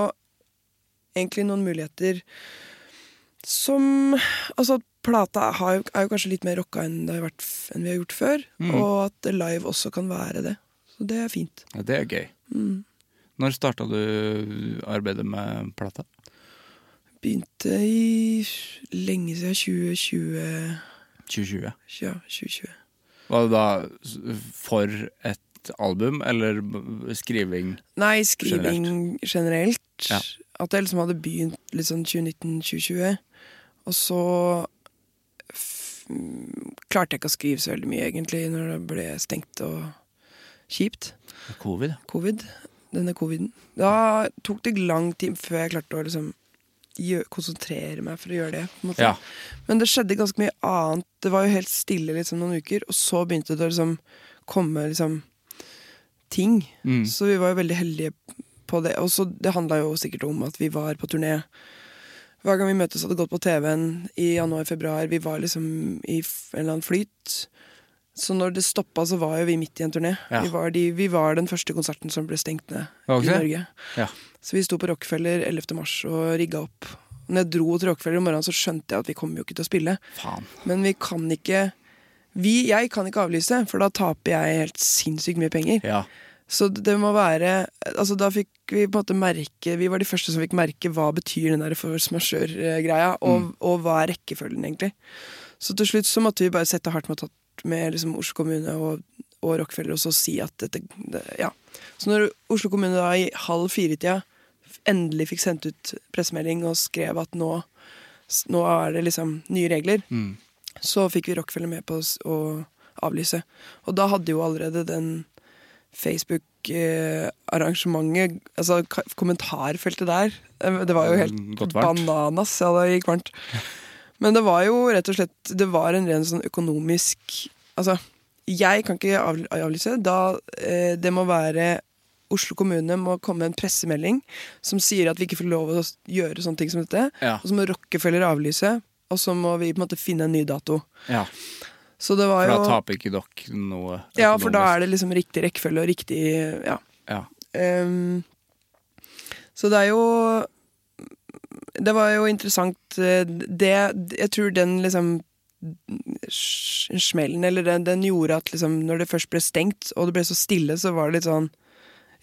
Speaker 2: egentlig noen muligheter som Altså at plata har, jo- er jo kanskje litt mer rocka enn, det har vært, f- enn vi har gjort før. Og at live også kan være det. Så det er fint.
Speaker 3: Ja, det er gøy.
Speaker 2: Mm.
Speaker 3: Når starta du arbeidet med plata?
Speaker 2: Begynte i lenge siden 2020.
Speaker 3: 2020.
Speaker 2: Ja, 2020.
Speaker 3: Var det da s- for et album, eller b- skriving?
Speaker 2: Nei, skriving generelt.
Speaker 3: Ja.
Speaker 2: At jeg liksom hadde begynt litt sånn 2019-2020. Og så f mm, klarte jeg ikke å skrive så veldig mye, egentlig, når det ble stengt og kjipt.
Speaker 3: Covid.
Speaker 2: Covid. Denne coviden. Da tok det lang tid før jeg klarte å liksom gjø konsentrere meg for å gjøre det. På en måte.
Speaker 3: Ja.
Speaker 2: Men det skjedde ganske mye annet. Det var jo helt stille liksom, noen uker, og så begynte det å liksom, komme liksom, ting.
Speaker 3: Mm.
Speaker 2: Så vi var jo veldig heldige på det. Og så det handla jo sikkert om at vi var på turné. Hver gang vi møtes, hadde det gått på TV-en i januar-februar. Vi var liksom i f- en eller annen flyt. Så når det stoppa, så var jo vi midt i en turné.
Speaker 3: Ja.
Speaker 2: Vi, var de, vi var den første konserten som ble stengt ned
Speaker 3: Var det
Speaker 2: i
Speaker 3: ikke det?
Speaker 2: Norge.
Speaker 3: Ja.
Speaker 2: Så vi sto på Rockefeller 11. mars og rigga opp. Når jeg dro til Rockefeller om morgenen, så skjønte jeg at vi kommer jo ikke til å spille.
Speaker 3: Faen.
Speaker 2: Men vi kan ikke vi, Jeg kan ikke avlyse, for da taper jeg helt sinnssykt mye penger.
Speaker 3: Ja.
Speaker 2: Så det må være Altså Da fikk vi på en måte merke Vi var de første som fikk merke hva betyr den der force majeure-greia, og, og hva er rekkefølgen, egentlig. Så til slutt så måtte vi bare sette hardt med, tatt med liksom Oslo kommune og, og Rockefeller og så si at dette det, Ja. Så når Oslo kommune da i halv fire-tida f- endelig fikk sendt ut pressemelding og skrev at nå, s- nå er det liksom nye regler,
Speaker 3: Mm.
Speaker 2: så fikk vi Rockefeller med på oss å avlyse. Og da hadde jo allerede den Facebook-arrangementet, altså ka- kommentarfeltet der eh, Det var jo
Speaker 3: Mm, Gått
Speaker 2: helt
Speaker 3: varmt.
Speaker 2: bananas. Ja, det gikk varmt. Men det var jo rett og slett Det var en ren sånn økonomisk Altså, jeg kan ikke avl- avlyse. Da eh, det må være Oslo kommune må komme med en pressemelding som sier at vi ikke får lov å s- gjøre sånne ting som dette.
Speaker 3: Ja.
Speaker 2: Og så må Rockefeller avlyse, og så må vi på en måte finne en ny dato.
Speaker 3: ja.
Speaker 2: Så det var
Speaker 3: For da
Speaker 2: jo
Speaker 3: taper ikke dere noe.
Speaker 2: Ja, for da er det liksom riktig rekkefølge og riktig Ja.
Speaker 3: ja.
Speaker 2: Ehm, så det er jo Det var jo interessant eh, Det Jeg tror den liksom sj- Smellen, eller den, den gjorde at liksom Når det først ble stengt, og det ble så stille, så var det litt sånn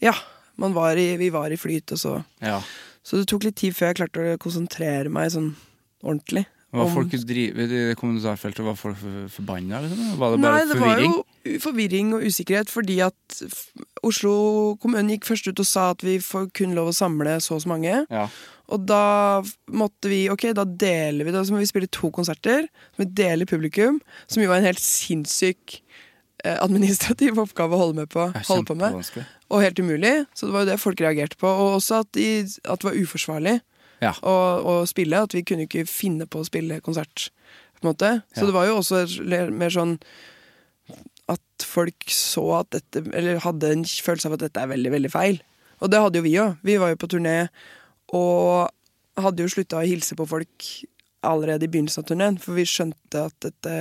Speaker 2: Ja, man var i, vi var i flyt, og så
Speaker 3: ja.
Speaker 2: Så det tok litt tid før jeg klarte å konsentrere meg sånn ordentlig.
Speaker 3: Var
Speaker 2: om-
Speaker 3: folk drive, I det kommentarfeltet var folk for- forbanna? Liksom? Var det bare
Speaker 2: Nei, det var
Speaker 3: forvirring?
Speaker 2: jo u- forvirring og usikkerhet, fordi at f- Oslo kommune gikk først ut og sa at vi får kun lov å samle så og så mange.
Speaker 3: Ja.
Speaker 2: Og da f- måtte vi Ok, da deler vi det. Så må vi spille to konserter. Så må vi dele publikum, som jo er en helt sinnssyk eh, administrativ oppgave å holde, med på,
Speaker 3: Det er
Speaker 2: holde på med.
Speaker 3: kjempevanskelig.
Speaker 2: Og helt umulig. Så det var jo det folk reagerte på. Og også at, de, at det var uforsvarlig
Speaker 3: Ja.
Speaker 2: å, å spille. At vi kunne ikke finne på å spille konsert. På en måte. Så
Speaker 3: Ja.
Speaker 2: det var jo også le- mer sånn at folk så at dette Eller hadde en følelse av at dette er veldig, veldig feil. Og det hadde jo vi òg. Vi var jo på turné og hadde jo slutta å hilse på folk allerede i begynnelsen av turneen, for vi skjønte at dette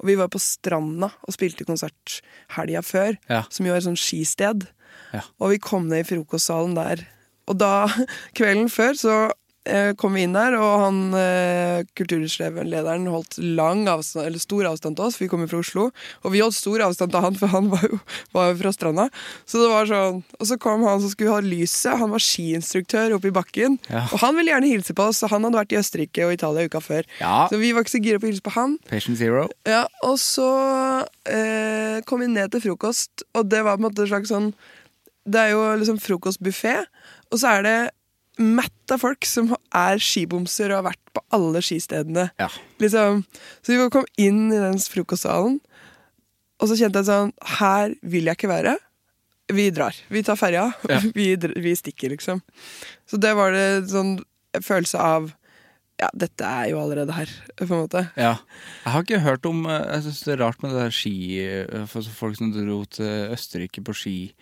Speaker 2: Og vi var på stranda og spilte konsert helga før,
Speaker 3: Ja.
Speaker 2: som jo er et sånt skisted.
Speaker 3: Ja.
Speaker 2: Og vi kom ned i frokostsalen der. Og da, kvelden før, så eh, kom vi inn der, og han eh, kulturhuslederen holdt lang avstand, eller stor avstand til oss, for vi kom jo fra Oslo. Og vi holdt stor avstand til han, for han var jo, var jo fra stranda. Så det var sånn, Og så kom han som skulle ha lyset, han var skiinstruktør oppe i bakken.
Speaker 3: Ja.
Speaker 2: Og han ville gjerne hilse på oss, og han hadde vært i Østerrike og Italia uka før.
Speaker 3: Ja.
Speaker 2: Så vi var ikke så gira på å hilse på han.
Speaker 3: Patient Zero.
Speaker 2: Ja, og så eh, kom vi ned til frokost, og det var på en måte en slags sånn Det er jo liksom frokostbuffé, og så er det matt av folk som er skibomser og har vært på alle skistedene.
Speaker 3: Ja.
Speaker 2: Liksom. Så vi kom inn i den frokostsalen, og så kjente jeg sånn Her vil jeg ikke være. Vi drar. Vi tar ferja. Vi, dr- vi stikker, liksom. Så det var det sånn følelse av Ja, dette er jo allerede her, på en måte.
Speaker 3: Ja. Jeg har ikke hørt om eh, Jeg syns det er rart med det der ski eh, for så Folk som dro til Østerrike på skiferie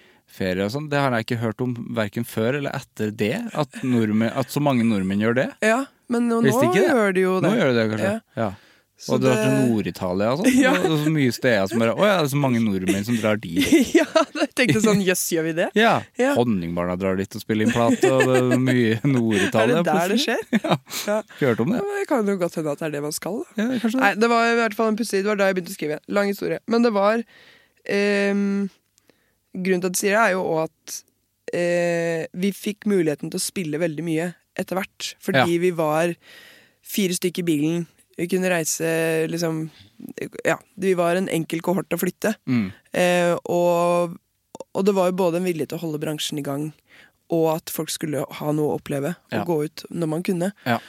Speaker 3: og sånn. Det har jeg ikke hørt om verken før eller etter det. At, nordmenn, at så mange nordmenn gjør det.
Speaker 2: Ja, men nå, nå
Speaker 3: Visste ikke det.
Speaker 2: gjør de jo det.
Speaker 3: Nå gjør de det, kanskje.
Speaker 2: Ja.
Speaker 3: Ja.
Speaker 2: Så
Speaker 3: og drar til
Speaker 2: det-
Speaker 3: Nord-Italia og sånn.
Speaker 2: Ja.
Speaker 3: Og det er så mye steder som bare Å ja, det er så mange nordmenn som drar dit.
Speaker 2: ja, jeg tenkte sånn, jøss, gjør vi det?
Speaker 3: Ja.
Speaker 2: Ja.
Speaker 3: Honningbarna drar dit og spiller inn plate, og det er mye
Speaker 2: Er
Speaker 3: Nord-Italia.
Speaker 2: det der det skjer?
Speaker 3: Ja.
Speaker 2: Ja.
Speaker 3: Hørte om
Speaker 2: Ja,
Speaker 3: det?
Speaker 2: men Det kan jo godt hende at det er det man skal. da.
Speaker 3: Ja, kanskje det.
Speaker 2: Nei, det var i hvert fall en pussig Det var da jeg begynte å skrive. Lang historie. Men det var ehm, Grunnen til at jeg sier det, er jo også at eh, vi fikk muligheten til å spille veldig mye etter hvert. Fordi
Speaker 3: Ja.
Speaker 2: vi var fire stykker i bilen. Vi kunne reise liksom Ja, vi var en enkel kohort å flytte.
Speaker 3: Mm.
Speaker 2: Eh, og, og det var jo både en vilje til å holde bransjen i gang, og at folk skulle ha noe å oppleve og
Speaker 3: Ja.
Speaker 2: gå ut når man kunne.
Speaker 3: Ja.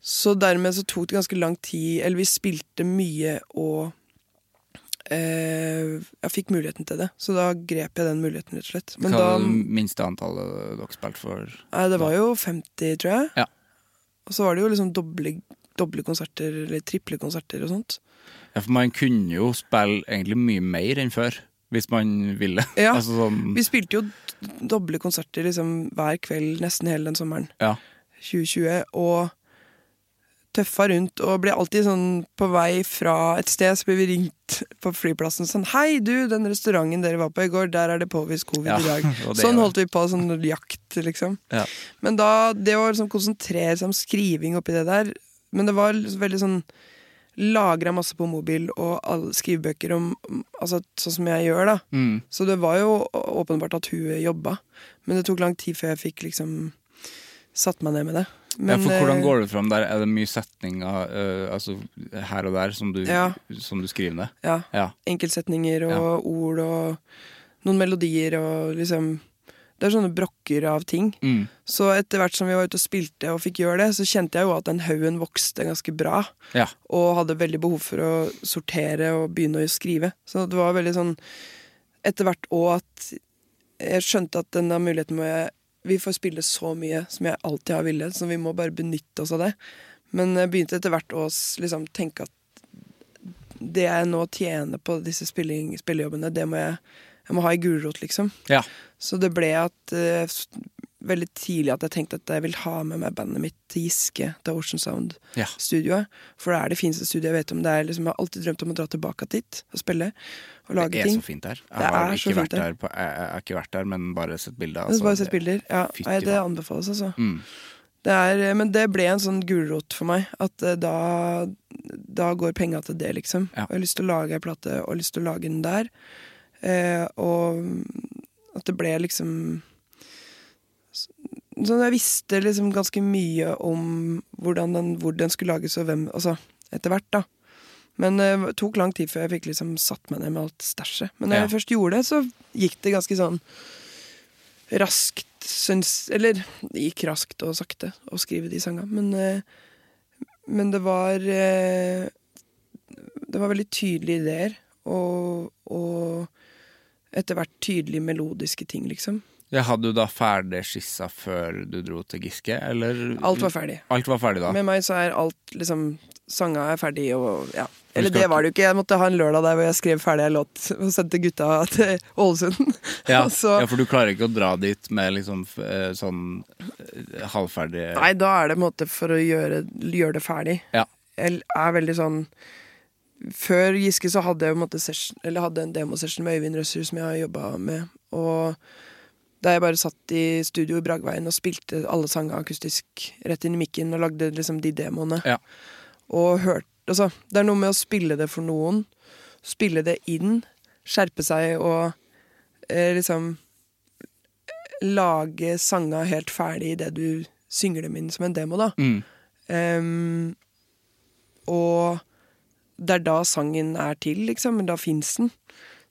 Speaker 2: Så dermed så tok det ganske lang tid Eller vi spilte mye og eh, Jeg fikk muligheten til det, så da grep jeg den muligheten, rett og slett. Men
Speaker 3: Hva
Speaker 2: da
Speaker 3: er det minste antallet dere spilte for?
Speaker 2: Nei, det var jo 50, tror jeg.
Speaker 3: Ja.
Speaker 2: Og så var det jo liksom doble, doble konserter, eller triple konserter og sånt.
Speaker 3: Ja, for man kunne jo spille egentlig mye mer enn før, hvis man ville.
Speaker 2: Ja.
Speaker 3: altså sånn
Speaker 2: Vi spilte jo d- doble konserter liksom hver kveld nesten hele den sommeren.
Speaker 3: Ja.
Speaker 2: 2020 og tøffa rundt og ble alltid sånn på vei fra et sted, så ble vi ringt på flyplassen sånn Hei, du, den restauranten dere var på i går, der er det påvist covid
Speaker 3: Ja,
Speaker 2: i dag.
Speaker 3: og det er
Speaker 2: Sånn
Speaker 3: det.
Speaker 2: holdt vi på, sånn jakt, liksom.
Speaker 3: Ja.
Speaker 2: Men da, det å liksom konsentrere seg om skriving oppi det der Men det var liksom veldig sånn Lagra masse på mobil og alle skrivebøker om Altså sånn som jeg gjør, da.
Speaker 3: Mm.
Speaker 2: Så det var jo å- åpenbart at hun jobba, men det tok lang tid før jeg fikk liksom satt meg ned med det.
Speaker 3: ja,
Speaker 2: Men,
Speaker 3: for hvordan
Speaker 2: eh,
Speaker 3: går det fram der? Er det mye setninger eh, altså, her og der som du,
Speaker 2: Ja.
Speaker 3: som du skriver ned?
Speaker 2: Ja,
Speaker 3: Ja.
Speaker 2: enkeltsetninger og
Speaker 3: Ja.
Speaker 2: ord og noen melodier og liksom Det er sånne brokker av ting.
Speaker 3: Mm.
Speaker 2: Så etter hvert som vi var ute og spilte og fikk gjøre det, så kjente jeg jo at den haugen vokste ganske bra.
Speaker 3: ja.
Speaker 2: og hadde veldig behov for å sortere og begynne å skrive. Så det var veldig sånn etter hvert òg at jeg skjønte at denne muligheten må jeg Vi får spille så mye som jeg alltid har villet, så vi må bare benytte oss av det. Men jeg begynte etter hvert å s- liksom, tenke at det jeg nå tjener på disse spilling, spillejobbene, det må jeg, jeg må ha i gulrot, liksom.
Speaker 3: Ja.
Speaker 2: Så det ble at eh, s- veldig tidlig at jeg tenkte at jeg vil ha med meg bandet mitt til Giske, til Ocean Sound
Speaker 3: Ja.
Speaker 2: studioet. For det er det fineste studioet jeg vet om. Det er liksom, jeg har alltid drømt om å dra tilbake dit og spille og lage
Speaker 3: Det er
Speaker 2: ting.
Speaker 3: så fint der. Jeg
Speaker 2: Det
Speaker 3: har
Speaker 2: er så fint
Speaker 3: ikke vært
Speaker 2: der.
Speaker 3: der, på, jeg, jeg har ikke vært der, men bare sett bilder.
Speaker 2: Jeg har
Speaker 3: altså.
Speaker 2: bare sett bilder. Ja,
Speaker 3: Fytti
Speaker 2: nei, det
Speaker 3: faen.
Speaker 2: anbefales, altså.
Speaker 3: Mm.
Speaker 2: Det er, eh, men det ble en sånn gulrot for meg. At eh, da, da går penga til det, liksom.
Speaker 3: Ja.
Speaker 2: Og jeg har lyst til å lage ei plate, og jeg har lyst til å lage den der. Eh, og at det ble liksom Sånn jeg visste liksom ganske mye om hvordan den, hvor den skulle lages, og hvem Altså, etter hvert, da. Men det tok lang tid før jeg fikk liksom satt meg ned med alt stæsjet. Men når jeg
Speaker 3: Ja.
Speaker 2: først gjorde det, så gikk det ganske sånn raskt, syns Eller det gikk raskt og sakte å skrive de sangene. Men, eh, men det var eh, Det var veldig tydelige ideer. Og, og etter hvert tydelige melodiske ting, liksom.
Speaker 3: Ja, hadde du da ferdig skissa før du dro til Giske, eller
Speaker 2: Alt var ferdig.
Speaker 3: Alt var ferdig da?
Speaker 2: Med meg så er alt liksom Sanga er ferdig og ja.
Speaker 3: du
Speaker 2: Eller
Speaker 3: skal
Speaker 2: det var det jo ikke. Jeg måtte ha en lørdag der hvor jeg skrev ferdig en låt og sendte gutta til Ålesund.
Speaker 3: ja.
Speaker 2: og så-
Speaker 3: ja, for du klarer ikke å dra dit med liksom f- eh, sånn eh, halvferdig
Speaker 2: Nei, da er det på en måte for å gjøre, gjøre det ferdig.
Speaker 3: Ja.
Speaker 2: Jeg er veldig sånn Før Giske så hadde jeg på en måte session, eller hadde en demosession med Øyvind Røsser som jeg har jobba med. Og da jeg bare satt i studio i Bragveien og spilte alle sangene akustisk rett inn i mikken og lagde liksom de demoene.
Speaker 3: Ja.
Speaker 2: Og hørt Altså, det er noe med å spille det for noen, spille det inn, skjerpe seg og eh, liksom lage sanga helt ferdig idet du synger dem inn som en demo, da.
Speaker 3: Mm.
Speaker 2: Ehm, og det er da sangen er til, liksom. Men da fins den.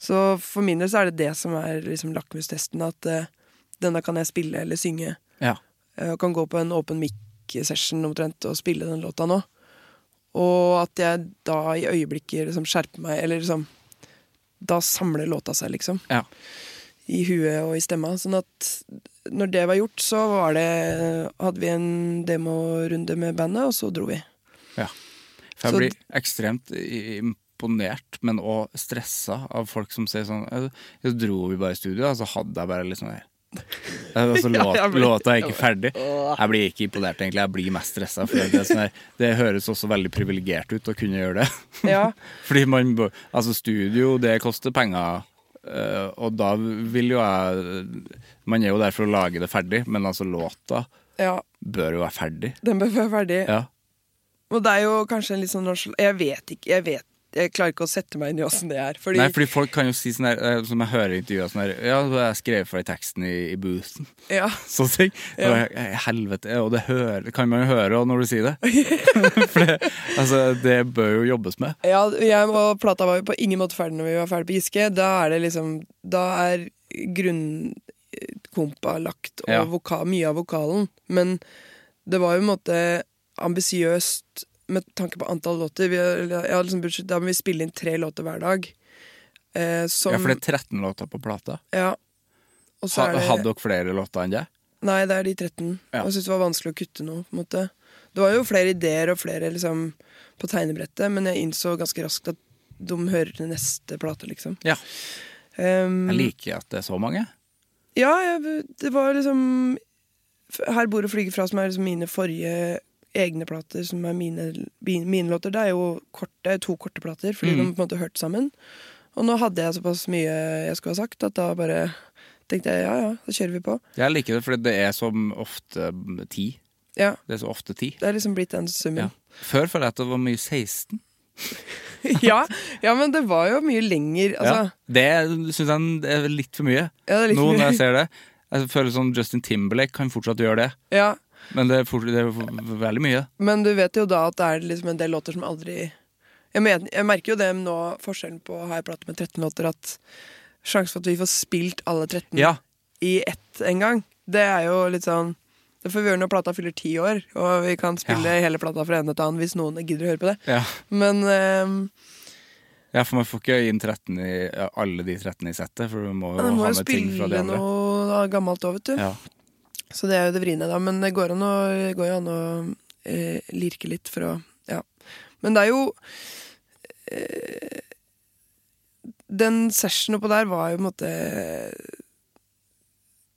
Speaker 2: Så for min del så er det det som er liksom lakmustesten. At eh, denne kan jeg spille eller synge.
Speaker 3: Ja.
Speaker 2: eh, og kan gå på en åpen mic-session omtrent og spille den låta nå. Og at jeg da i øyeblikket liksom skjerper meg, eller liksom Da samler låta seg, liksom
Speaker 3: ja.
Speaker 2: i huet og i stemma. Sånn at når det var gjort, så var det, hadde vi en demorunde med bandet, og så dro vi.
Speaker 3: For
Speaker 2: Så-
Speaker 3: jeg blir ekstremt i- imponert, men òg stressa av folk som sier sånn eh, Så dro vi bare i studio, og så hadde jeg bare litt sånn her Og så
Speaker 2: Ja,
Speaker 3: låt,
Speaker 2: jeg blir-
Speaker 3: låta er ikke ferdig. Jeg blir ikke imponert, egentlig. Jeg blir mest stressa. Det, som er- sånn det høres også veldig privilegert ut å kunne gjøre det.
Speaker 2: Ja.
Speaker 3: Fordi man bør- Altså, studio, det koster penger. eh, og da vil jo jeg Man er jo der for å lage det ferdig, men altså, låta
Speaker 2: ja.
Speaker 3: bør jo være ferdig.
Speaker 2: Den bør være ferdig.
Speaker 3: Ja.
Speaker 2: Og det er jo kanskje en litt sånn norsk Jeg vet ikke. Jeg vet jeg klarer ikke å sette meg inn i åssen det er. Fordi,
Speaker 3: Nei, fordi folk kan jo si sånn her, eh, som jeg hører i intervjuer sånn her Ja, jeg skrev ferdig teksten i, i boothen.
Speaker 2: ja,
Speaker 3: Sånne ting. Og jeg, eh, helvete. Og det hører, kan man jo høre også når du sier det. For det, altså, det bør jo jobbes med.
Speaker 2: ja, jeg og plata var jo på ingen måte ferdig når vi var ferdig på Giske. Da er det liksom Da er grunnkompa lagt, og
Speaker 3: Ja.
Speaker 2: voka, mye av vokalen. Men det var jo en måte ambisiøst med tanke på antall låter. Vi, har- jeg har liksom budsjett, da må vi spille inn tre låter hver dag. Eh, som,
Speaker 3: Ja, for det er 13 låter på plata.
Speaker 2: ja. Og så
Speaker 3: Ha,
Speaker 2: er det-
Speaker 3: hadde dere flere låter enn det?
Speaker 2: Nei, det er de 13.
Speaker 3: Ja.
Speaker 2: Jeg syntes det var vanskelig å kutte noe. på en måte. Det var jo flere ideer og flere liksom, på tegnebrettet, men jeg innså ganske raskt at de hører til neste plate, liksom.
Speaker 3: Ja.
Speaker 2: Ehm,
Speaker 3: Jeg liker at det er så mange.
Speaker 2: ja, jeg, det var liksom Her bor og flyger fra, som er liksom mine forrige egne plater, som er mine, mine låter. Det er jo kort, det er jo to korte plater, fordi
Speaker 3: Mm.
Speaker 2: de på en måte hørte sammen. Og nå hadde jeg såpass mye jeg skulle ha sagt, at da bare tenkte jeg ja, ja, da kjører vi på.
Speaker 3: Jeg liker det, for det er som ofte mm, ti.
Speaker 2: Ja,
Speaker 3: Det er så ofte ti.
Speaker 2: Det er liksom blitt den summen.
Speaker 3: Ja. Før føler jeg at det var mye 16.
Speaker 2: ja, ja, men det var jo mye lenger. Altså,
Speaker 3: ja. Det syns jeg det er litt for mye.
Speaker 2: Ja, det er litt
Speaker 3: Nå
Speaker 2: for mye.
Speaker 3: når jeg ser det. Jeg føler som Justin Timberlake kan fortsatt gjøre det.
Speaker 2: ja.
Speaker 3: Men det er, fort, det er v- veldig mye.
Speaker 2: Men du vet jo da at det er liksom en del låter som aldri jeg, men, jeg merker jo det nå, forskjellen på har jeg pratet med 13 låter, at sjansen for at vi får spilt alle 13
Speaker 3: Ja.
Speaker 2: i ett en gang, det er jo litt sånn Det får vi gjøre når plata fyller ti år, og vi kan spille hele plata fra ende til annen hvis noen gidder å høre på det.
Speaker 3: Ja.
Speaker 2: Men ehm,
Speaker 3: ja, for man får ikke inn 13 i, ja, alle de 13 i settet, for du må jo
Speaker 2: man må
Speaker 3: ha
Speaker 2: jo
Speaker 3: med ting fra de
Speaker 2: spille
Speaker 3: andre.
Speaker 2: noe gammelt òg, vet du.
Speaker 3: Ja.
Speaker 2: Så det er jo det vriene, da. Men det går, an å, det går jo an å eh, lirke litt for å Ja. Men det er jo eh, Den session oppå der var jo på en måte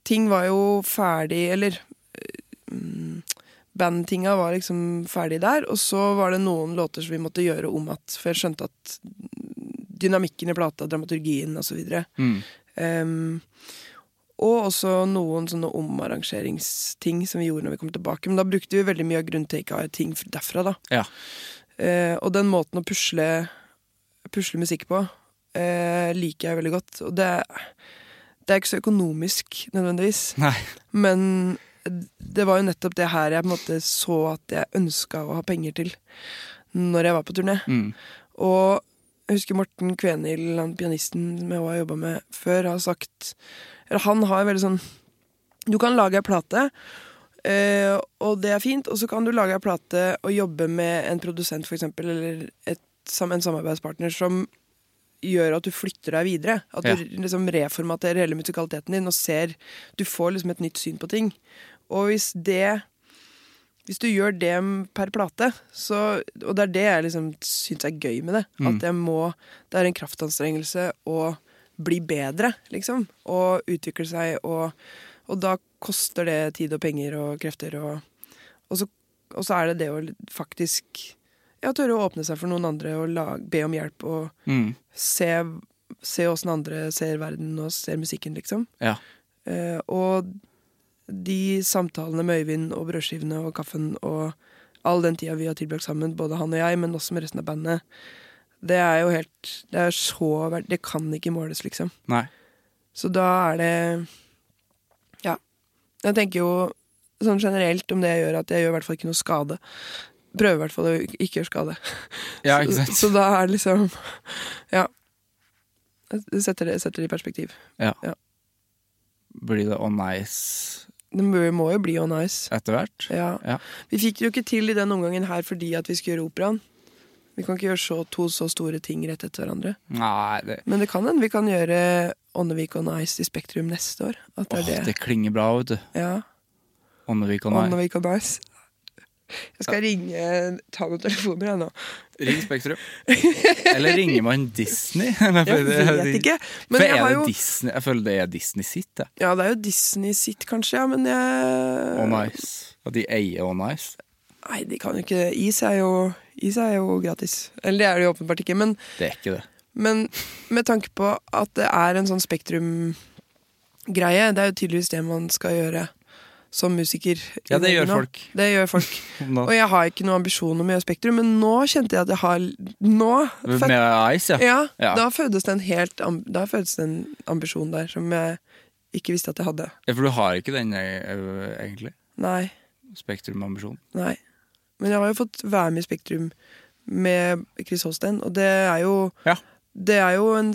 Speaker 2: Ting var jo ferdig, eller eh, mm, Bandtinga var liksom ferdig der, og så var det noen låter som vi måtte gjøre om at For jeg skjønte at dynamikken i plata, dramaturgien osv.
Speaker 3: Mm.
Speaker 2: Um, og også noen sånne omarrangeringsting som vi gjorde når vi kom tilbake. Men da brukte vi veldig mye av grunntake-ting derfra, da.
Speaker 3: ja.
Speaker 2: Eh, og den måten å pusle, pusle musikk på eh, liker jeg veldig godt. Og det, det er ikke så økonomisk nødvendigvis,
Speaker 3: Nei.
Speaker 2: men det var jo nettopp det her jeg på en måte så at jeg ønska å ha penger til når jeg var på turné.
Speaker 3: Mm.
Speaker 2: Og jeg husker Morten Kvenhild, han pianisten som jeg har jobba med før, har sagt Eller han har veldig sånn Du kan lage ei plate, eh, og det er fint, og så kan du lage ei plate og jobbe med en produsent, for eksempel, eller et, sam- en samarbeidspartner som gjør at du flytter deg videre. At du liksom reformaterer hele musikaliteten din og ser Du får liksom et nytt syn på ting. Og hvis det hvis du gjør det per plate, så, og det er det jeg liksom syns er gøy med det At jeg må Det er en kraftanstrengelse å bli bedre, liksom. Og utvikle seg, og, og da koster det tid og penger og krefter. Og, og, så, og så er det det å faktisk ja, tørre å åpne seg for noen andre og lag, be om hjelp og
Speaker 3: Mm.
Speaker 2: se se åssen andre ser verden og ser musikken, liksom.
Speaker 3: Ja.
Speaker 2: Eh, og de samtalene med Øyvind og brødskivene og kaffen og all den tida vi har tilbrakt sammen, både han og jeg, men også med resten av bandet, det er jo helt Det er så verd- Det kan ikke måles, liksom.
Speaker 3: Nei.
Speaker 2: Så da er det Ja. Jeg tenker jo sånn generelt om det jeg gjør, at jeg gjør i hvert fall ikke noe skade. Prøver i hvert fall å ikke gjøre skade.
Speaker 3: Ja, ikke sant?
Speaker 2: Så, så da er det liksom Ja. Det setter det, setter det i perspektiv.
Speaker 3: Ja.
Speaker 2: Ja.
Speaker 3: Blir det on ice
Speaker 2: Det må må jo bli on ice.
Speaker 3: etter hvert?
Speaker 2: Ja.
Speaker 3: Ja.
Speaker 2: Vi fikk det jo ikke til i den omgangen her fordi at vi skulle gjøre operaen. Vi kan ikke gjøre så, to så store ting rett etter hverandre.
Speaker 3: Nei, det,
Speaker 2: Men det kan hende vi kan gjøre Åndevik on Ice i Spektrum neste år. At det
Speaker 3: åh,
Speaker 2: er det.
Speaker 3: det klinger bra, vet du.
Speaker 2: Ja.
Speaker 3: Åndevik on ice.
Speaker 2: Åndevik on Ice. Jeg skal ringe Ta noen telefoner, jeg nå.
Speaker 3: Ring Spektrum. Eller ringer man Disney?
Speaker 2: Jeg vet ikke. Men
Speaker 3: For
Speaker 2: jeg
Speaker 3: er
Speaker 2: har
Speaker 3: det
Speaker 2: jo
Speaker 3: Disney? Jeg føler det er Disney sitt, jeg.
Speaker 2: Ja, det er jo Disney sitt, kanskje, ja, men
Speaker 3: Og
Speaker 2: jeg
Speaker 3: Nice. At de eier Og Nice.
Speaker 2: Nei, de kan jo ikke det. Is er jo, is er jo gratis. Eller det er det jo åpenbart ikke, men
Speaker 3: Det er ikke det.
Speaker 2: Men med tanke på at det er en sånn spektrum-greie, det er jo tydeligvis det man skal gjøre som musiker. i
Speaker 3: Ja, det
Speaker 2: Norge
Speaker 3: gjør
Speaker 2: nå.
Speaker 3: folk.
Speaker 2: Det gjør folk.
Speaker 3: Om da-
Speaker 2: Og jeg har ikke noen ambisjon om å gjøre spektrum, men nå kjente jeg at jeg har Nå! fød-
Speaker 3: Med Ice, ja.
Speaker 2: ja,
Speaker 3: Ja.
Speaker 2: Da fødes det en helt amb- Da fødes det en ambisjon der som jeg ikke visste at jeg hadde.
Speaker 3: Ja, For du har ikke den, eh, egentlig.
Speaker 2: Nei.
Speaker 3: Spektrum-ambisjonen.
Speaker 2: Nei. Men jeg har jo fått være med i Spektrum med Chris Holsten, og det er jo
Speaker 3: Ja.
Speaker 2: Det er jo en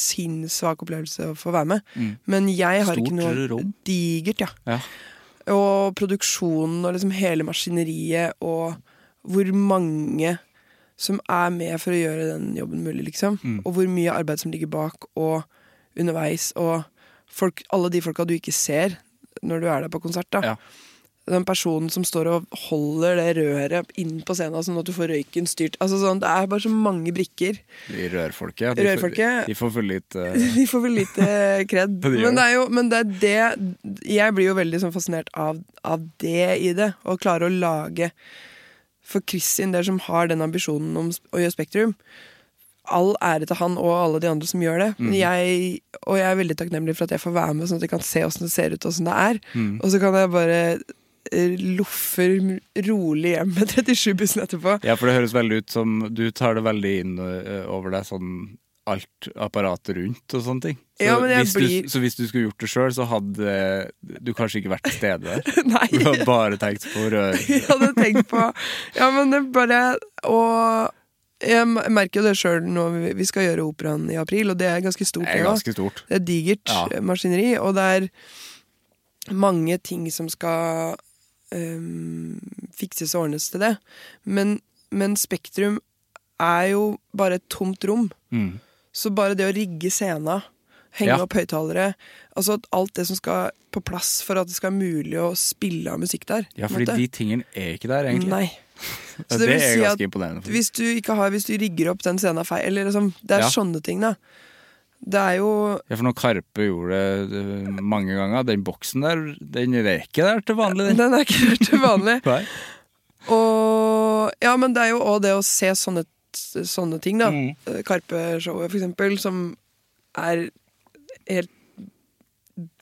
Speaker 2: sinnssvak opplevelse å få være med. Men jeg har ikke noe
Speaker 3: Mm. Stort rom.
Speaker 2: digert, ja.
Speaker 3: Ja.
Speaker 2: Og produksjonen og liksom hele maskineriet og hvor mange som er med for å gjøre den jobben mulig, liksom.
Speaker 3: Mm.
Speaker 2: Og hvor mye arbeid som ligger bak og underveis, og folk, alle de folka du ikke ser når du er der på konsert, da
Speaker 3: Ja.
Speaker 2: den personen som står og holder det røret inn på scenen, sånn at du får røyken styrt. Altså sånn, Det er bare så mange brikker.
Speaker 3: I rørfolket. ja. De får-
Speaker 2: Rørfolket.
Speaker 3: De får for litt eh,
Speaker 2: Vi får vel lite kred.
Speaker 3: Ja, de gjør
Speaker 2: Men det er jo men det er det Jeg blir jo veldig sånn fascinert av, av det i det. Å klare å lage For Chris sin del, som har den ambisjonen om sp- å gjøre Spektrum All ære til han og alle de andre som gjør det.
Speaker 3: Mm.
Speaker 2: Men jeg, og jeg er veldig takknemlig for at jeg får være med, sånn at jeg kan se åssen det ser ut og åssen det er.
Speaker 3: Mm.
Speaker 2: Og så kan jeg bare eh, loffe rolig hjem med 37-bussen etterpå.
Speaker 3: Ja, for det høres veldig ut som du tar det veldig inn ø, over deg, sånn alt apparatet rundt og sånne ting. Så,
Speaker 2: Ja, men jeg
Speaker 3: hvis,
Speaker 2: blir-
Speaker 3: du, så hvis du skulle gjort det sjøl, så hadde du kanskje ikke vært til stede der.
Speaker 2: Nei.
Speaker 3: Du hadde bare tenkt på rør.
Speaker 2: jeg hadde tenkt på. Ja, men det bare Og jeg merker jo det sjøl når vi- vi skal gjøre operaen i april, og det er ganske stort.
Speaker 3: Det er
Speaker 2: da.
Speaker 3: ganske stort.
Speaker 2: Det er digert
Speaker 3: Ja.
Speaker 2: eh, maskineri, og det er mange ting som skal ehm, fikses og ordnes til det. Men, men Spektrum er jo bare et tomt rom.
Speaker 3: Mm.
Speaker 2: Så bare det å rigge scena, henge
Speaker 3: Ja.
Speaker 2: opp høyttalere Altså at alt det som skal på plass for at det skal være mulig å spille av musikk der.
Speaker 3: Ja,
Speaker 2: på en
Speaker 3: fordi
Speaker 2: måte.
Speaker 3: de tingene er ikke der, egentlig.
Speaker 2: Nei.
Speaker 3: Ja,
Speaker 2: Så
Speaker 3: det,
Speaker 2: det vil
Speaker 3: er
Speaker 2: si
Speaker 3: ganske
Speaker 2: at
Speaker 3: imponerende. faktisk.
Speaker 2: hvis du ikke har Hvis du rigger opp den scenen feil Eller liksom Det er
Speaker 3: Ja.
Speaker 2: sånne ting, da. Det er jo
Speaker 3: Ja, for når Karpe gjorde det ø, mange ganger, den boksen der, den er ikke der til vanlig, den.
Speaker 2: Den er ikke helt vanlig.
Speaker 3: Nei.
Speaker 2: Og Ja, men det er jo òg det å se sånne, sånne ting, da.
Speaker 3: Mm.
Speaker 2: Karpe-showet, for eksempel, som er helt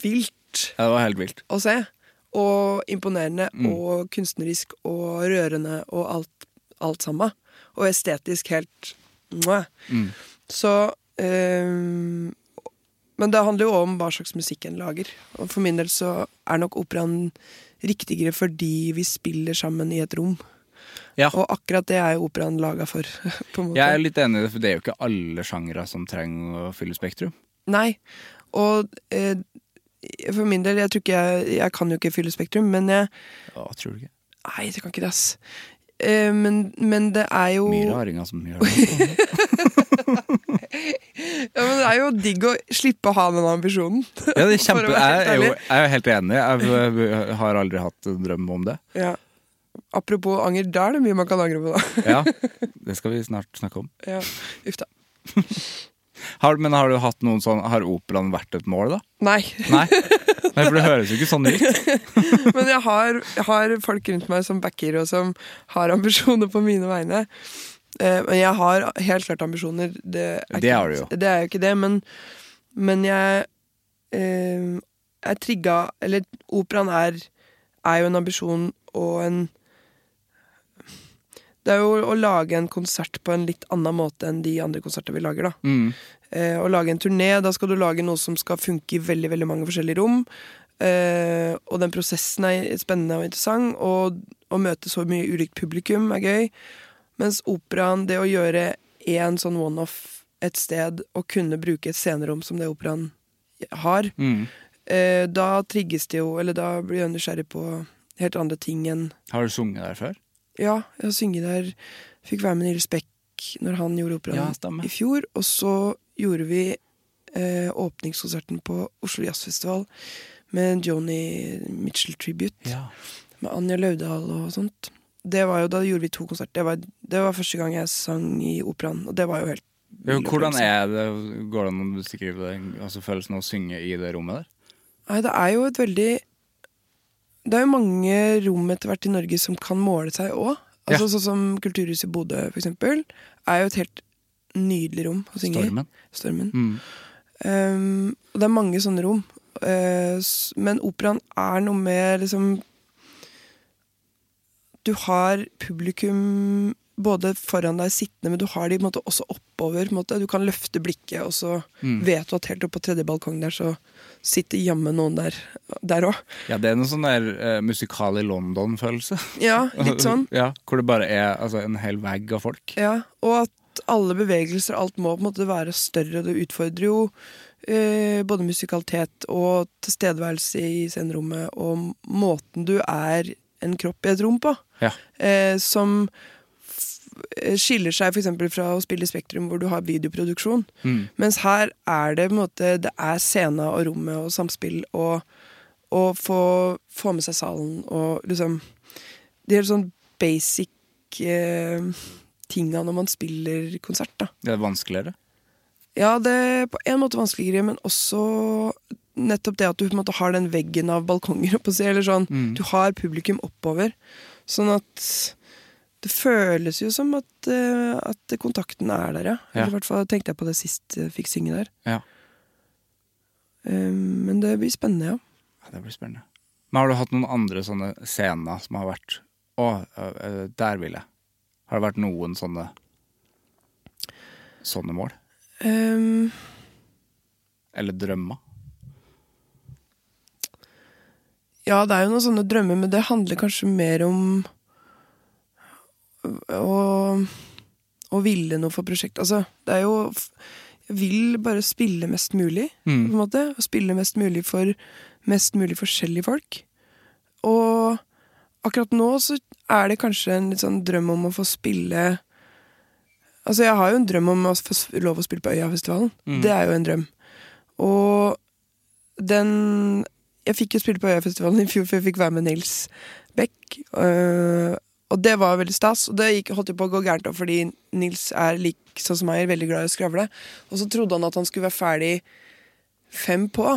Speaker 2: vilt
Speaker 3: Ja, det var helt vilt.
Speaker 2: å se. Og imponerende
Speaker 3: Mm.
Speaker 2: og kunstnerisk og rørende og alt, alt sammen. Og estetisk helt mwah.
Speaker 3: Mm.
Speaker 2: Så ehm, Men det handler jo også om hva slags musikk en lager. Og for min del så er nok operaen riktigere fordi vi spiller sammen i et rom.
Speaker 3: Ja.
Speaker 2: Og akkurat det er jo operaen laga for. på en måte.
Speaker 3: Jeg er litt enig i det, for det er jo ikke alle sjangre som trenger å fylle Spektrum.
Speaker 2: Nei. Og eh, for min del, jeg tror ikke jeg, jeg kan jo ikke fylle Spektrum, men jeg
Speaker 3: Ja, tror du ikke?
Speaker 2: Nei, det kan ikke det, ass. Eh, men, men det er jo
Speaker 3: Mye
Speaker 2: ja,
Speaker 3: raringer som gjør det.
Speaker 2: men Det er jo digg å slippe å ha den ambisjonen.
Speaker 3: Ja, det er kjempe,
Speaker 2: For å være
Speaker 3: jeg,
Speaker 2: helt
Speaker 3: er jo,
Speaker 2: ærlig.
Speaker 3: jeg er jo helt enig. Jeg v- har aldri hatt en drøm om det.
Speaker 2: Ja. Apropos anger, da er det mye man kan angre på, da.
Speaker 3: Ja, Det skal vi snart snakke om.
Speaker 2: Ja. Uff da.
Speaker 3: Har, men har du hatt noen sånn Har operaen vært et mål, da?
Speaker 2: Nei.
Speaker 3: Nei, Nei for det høres jo ikke sånn ut.
Speaker 2: Men jeg har, jeg har folk rundt meg som backer, og som har ambisjoner på mine vegne. Eh, Men jeg har helt klart ambisjoner. Det er,
Speaker 3: Det
Speaker 2: ikke-
Speaker 3: har du jo.
Speaker 2: Det er jo ikke det, men, men jeg eh, Jeg trigga Eller operaen er, er jo en ambisjon og en Det er jo å lage en konsert på en litt annen måte enn de andre konserter vi lager, da.
Speaker 3: Mm.
Speaker 2: Eh, å lage en turné, da skal du lage noe som skal funke i veldig, veldig mange forskjellige rom. Eh, og den prosessen er spennende og interessant, og å møte så mye ulikt publikum er gøy. Mens operaen, det å gjøre én sånn one-off et sted, og kunne bruke et scenerom som det operaen har,
Speaker 3: Mm.
Speaker 2: eh, da trigges det jo, eller da blir jeg nysgjerrig på helt andre ting enn
Speaker 3: Har du sunget der før?
Speaker 2: ja, jeg har synget der. Fikk være med Nils Beck når han gjorde
Speaker 3: Ja,
Speaker 2: operaen
Speaker 3: stemmer.
Speaker 2: i fjor. Og så gjorde vi eh, åpningskonserten på Oslo Jazzfestival med en Joni Mitchell Tribute. Med Anja Laudal og sånt. det var jo, da gjorde vi to konserter. Det var, det var første gang jeg sang i operaen, og det var jo helt
Speaker 3: Jo, Hvordan er det, går det an å beskrive det, altså følelsen av å synge i det rommet der?
Speaker 2: Nei, det er jo et veldig Det er jo mange rom etter hvert i Norge som kan måle seg òg. Altså, Sånn som Kulturhuset i Bodø, for eksempel, er jo et helt nydelig rom å synge i.
Speaker 3: Stormen.
Speaker 2: Stormen.
Speaker 3: Mm.
Speaker 2: Um, og det er mange sånne rom. Eh, s- men operaen er noe med liksom Du har publikum både foran deg sittende, men du har de på en måte, også oppover. På en måte. Du kan løfte blikket, og så
Speaker 3: Mm.
Speaker 2: vet du at helt oppe på tredje balkong der så sitter jammen noen der Der òg.
Speaker 3: Ja, det er noe sånn der eh, musikal i London-følelse.
Speaker 2: Ja, litt sånn.
Speaker 3: Ja, hvor det bare er altså, en hel vegg av folk.
Speaker 2: Ja, og at alle bevegelser og alt må på en måte være større, og det utfordrer jo eh, både musikalitet og tilstedeværelse i scenerommet, og måten du er en kropp i et rom på,
Speaker 3: Ja.
Speaker 2: eh, som f- eh, skiller seg f.eks. fra å spille i Spektrum, hvor du har videoproduksjon.
Speaker 3: Mm.
Speaker 2: Mens her er det på en måte Det er scena og rommet og samspill og å få, få med seg salen og liksom De helt sånn basic eh, tinga når man spiller konsert, da.
Speaker 3: Det er vanskeligere.
Speaker 2: Ja, det er på en måte vanskeligere, men også nettopp det at du på en måte har den veggen av balkonger, holdt på å si, eller sånn. Du har publikum oppover. Sånn at det føles jo som at, eh, at kontakten er der, ja.
Speaker 3: Ja.
Speaker 2: Eller I hvert fall tenkte jeg på det sist jeg fikk synge der.
Speaker 3: Ja.
Speaker 2: Eh, Men det blir spennende, ja.
Speaker 3: Ja, det blir spennende. Men har du hatt noen andre sånne scener som har vært Å, ø, ø, der vil jeg. Har det vært noen sånne Sånne mål?
Speaker 2: Ehm,
Speaker 3: Eller drømmer?
Speaker 2: ja, det er jo noen sånne drømmer, men det handler kanskje mer om å, å ville noe for prosjektet. Altså, det er jo Jeg vil bare spille mest mulig, på en måte. Og spille mest mulig for mest mulig forskjellige folk. Og akkurat nå så er det kanskje en litt sånn drøm om å få spille Altså, jeg har jo en drøm om å få s- lov å spille på Øyafestivalen.
Speaker 3: Mm.
Speaker 2: Det er jo en drøm. Og den Jeg fikk jo spille på Øyafestivalen i fjor, for jeg fikk være med Nils Beck. øh, og det var veldig stas. Og det gikk, holdt jo på å gå gærent da, fordi Nils er lik sånn som meg, veldig glad i å skravle. Og så trodde han at han skulle være ferdig fem på.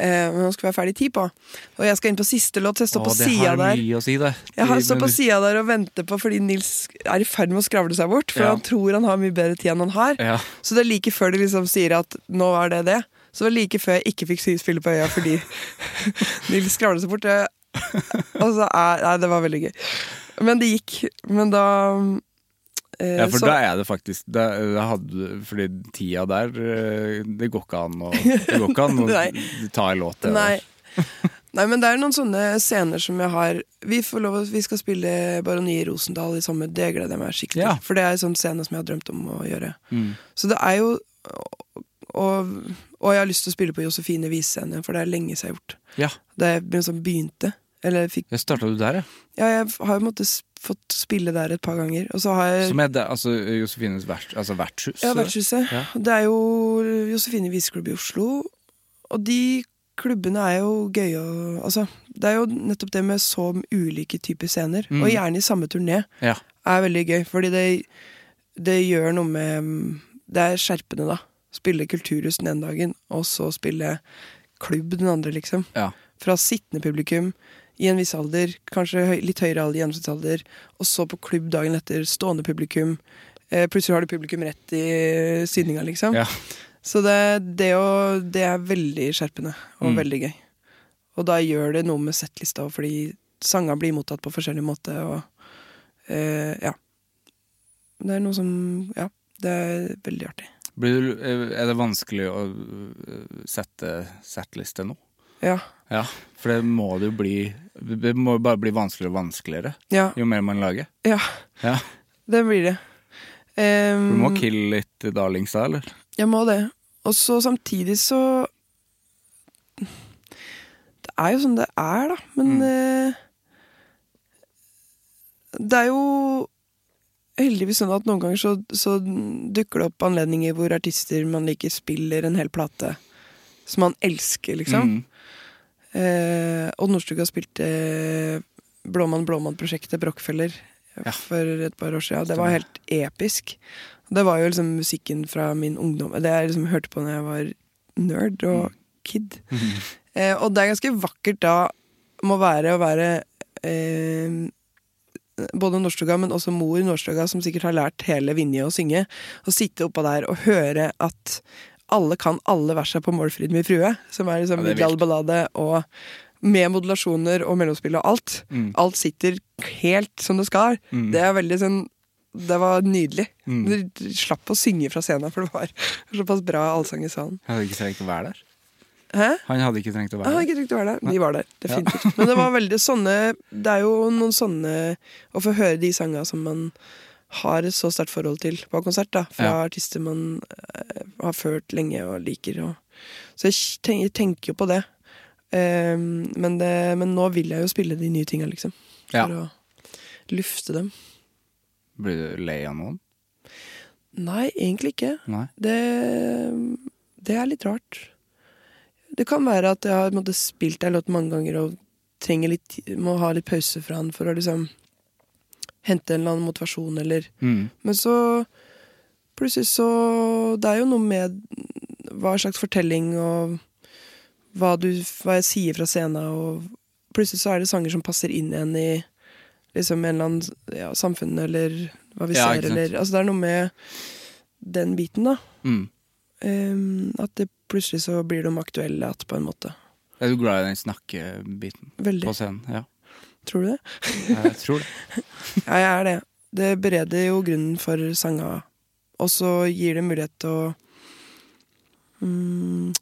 Speaker 2: eh, men han skulle være ferdig ti på. Og jeg skal inn på siste låt, så jeg står på
Speaker 3: det
Speaker 2: sida
Speaker 3: har
Speaker 2: der.
Speaker 3: mye å si, det.
Speaker 2: Jeg har,
Speaker 3: De-
Speaker 2: står på
Speaker 3: men-
Speaker 2: sida der og venter på fordi Nils er i ferd med å skravle seg bort. For
Speaker 3: Ja.
Speaker 2: han tror han har mye bedre tid enn han har.
Speaker 3: Ja.
Speaker 2: Så det er like før de liksom sier at nå er det det. Så det var like før jeg ikke fikk sy- spille på øya fordi Nils skravla seg bort. Det- Og så er, nei, det var veldig gøy. Men det gikk. Men da eh,
Speaker 3: Ja, for
Speaker 2: så,
Speaker 3: da er det faktisk da, da hadde, Fordi tida der eh, Det går ikke an å, det går ikke an å
Speaker 2: Nei.
Speaker 3: ta en låt. det
Speaker 2: Nei.
Speaker 3: der.
Speaker 2: Nei, men det er noen sånne scener som jeg har Vi, får lov, å- vi skal spille Baroni i Rosendal i sommer. Det gleder jeg meg skikkelig til.
Speaker 3: Ja.
Speaker 2: For det er en sånn scene som jeg har drømt om å gjøre.
Speaker 3: Mm.
Speaker 2: Så det er jo Og, og jeg har lyst til å spille på Josefine Visescene, for det er lenge siden jeg har gjort.
Speaker 3: Ja,
Speaker 2: Da jeg liksom begynte. Eller fikk
Speaker 3: det starta du der, ja.
Speaker 2: Ja, jeg har jo måttet s- fått spille der et par ganger. Og så har jeg
Speaker 3: Som er det, altså, Josefines vert, altså, vertshus.
Speaker 2: Eh. Ja, Vertshuset.
Speaker 3: Ja.
Speaker 2: Det er jo Josefine Viseklubb i Oslo. Og de klubbene er jo gøye å Altså, det er jo nettopp det med så ulike typer scener, og gjerne i samme turné,
Speaker 3: Ja.
Speaker 2: er veldig gøy. Fordi det, det gjør noe med mm, Det er skjerpende, da. Spille kulturhus den ene dagen, og så spille klubb den andre, liksom
Speaker 3: ja.
Speaker 2: fra sittende publikum i en viss alder, kanskje høy, litt høyere alder, gjennomsnittsalder, og så på klubb dagen etter, stående publikum. Eh, plutselig har du publikum rett i syninga, liksom.
Speaker 3: Ja.
Speaker 2: Så det, det, å, det er veldig skjerpende og
Speaker 3: Mm.
Speaker 2: veldig gøy. Og da gjør det noe med settlista, fordi sanga blir mottatt på forskjellig måte, og eh, ja. Det er noe som Ja, det er veldig artig.
Speaker 3: Blir du, eh, er det vanskelig å øh, sette settliste nå?
Speaker 2: Ja.
Speaker 3: Ja, for det må det jo bli Det må jo bare bli vanskeligere og vanskeligere
Speaker 2: Ja.
Speaker 3: jo mer man lager.
Speaker 2: ja
Speaker 3: Ja.
Speaker 2: det blir det. Um,
Speaker 3: Du må kille litt darlings da, eller?
Speaker 2: Jeg må det. Og så samtidig så Det er jo sånn det er, da. Men
Speaker 3: Mm.
Speaker 2: eh, det er jo heldigvis sånn at noen ganger så, så dukker det opp anledninger hvor artister man liker, spiller en hel plate som man elsker, liksom.
Speaker 3: Mm.
Speaker 2: Eh, Odd Nordstoga spilte eh, Blåmann Blåmann-prosjektet Brochfeller
Speaker 3: Ja.
Speaker 2: for et par år siden. Det var helt episk. Det var jo liksom musikken fra min ungdom. Det jeg liksom hørte på når jeg var nerd og
Speaker 3: Mm.
Speaker 2: kid. Eh, og det er ganske vakkert da må være å være eh, både Nordstoga, men også mor Nordstoga, som sikkert har lært hele Vinje å synge. Å sitte oppå der og høre at alle kan alle versa på Målfrid min frue, som er liksom
Speaker 3: Ja, det er
Speaker 2: Vidal Ballade og med modulasjoner og mellomspill og alt.
Speaker 3: Mm.
Speaker 2: Alt sitter helt som det skal. Det er veldig sånn Det var nydelig.
Speaker 3: Mm.
Speaker 2: Du slapp å synge fra scenen, for det var såpass bra allsang i salen.
Speaker 3: Han hadde ikke trengt å være der.
Speaker 2: Hæ?
Speaker 3: Han hadde ikke trengt å
Speaker 2: Jeg
Speaker 3: være
Speaker 2: har
Speaker 3: der.
Speaker 2: ikke trygt å være der. De var der, definitivt. Men det var veldig sånne Det er jo noen sånne Å få høre de sanga som man har et så sterkt forhold til på konsert, da. Fra
Speaker 3: Ja.
Speaker 2: artister man eh, har ført lenge og liker. Og. Så jeg ten- jeg tenker jo på det. Eh, men det. Men nå vil jeg jo spille de nye tinga, liksom. For
Speaker 3: Ja.
Speaker 2: å lufte dem.
Speaker 3: Blir du lei av noen?
Speaker 2: Nei, egentlig ikke.
Speaker 3: Nei.
Speaker 2: Det, det er litt rart. Det kan være at jeg har på en måte, spilt en låt mange ganger og trenger litt, må ha litt pause fra den for å liksom hente en eller annen motivasjon, eller
Speaker 3: Mm.
Speaker 2: Men så plutselig så Det er jo noe med hva slags fortelling og hva, du, hva jeg sier fra scenen, og plutselig så er det sanger som passer inn igjen i liksom en eller annen ja, samfunn, eller hva vi
Speaker 3: Ja,
Speaker 2: ser,
Speaker 3: ikke sant.
Speaker 2: eller Altså det er noe med den biten, da.
Speaker 3: Mm.
Speaker 2: Ehm, at det plutselig så blir de aktuelle at på en måte.
Speaker 3: Er du glad i den snakkebiten
Speaker 2: Veldig.
Speaker 3: på scenen? Ja,
Speaker 2: Tror du det?
Speaker 3: jeg tror det.
Speaker 2: Ja, jeg er det. Det bereder jo grunnen for sanga, og så gir det mulighet til å mm,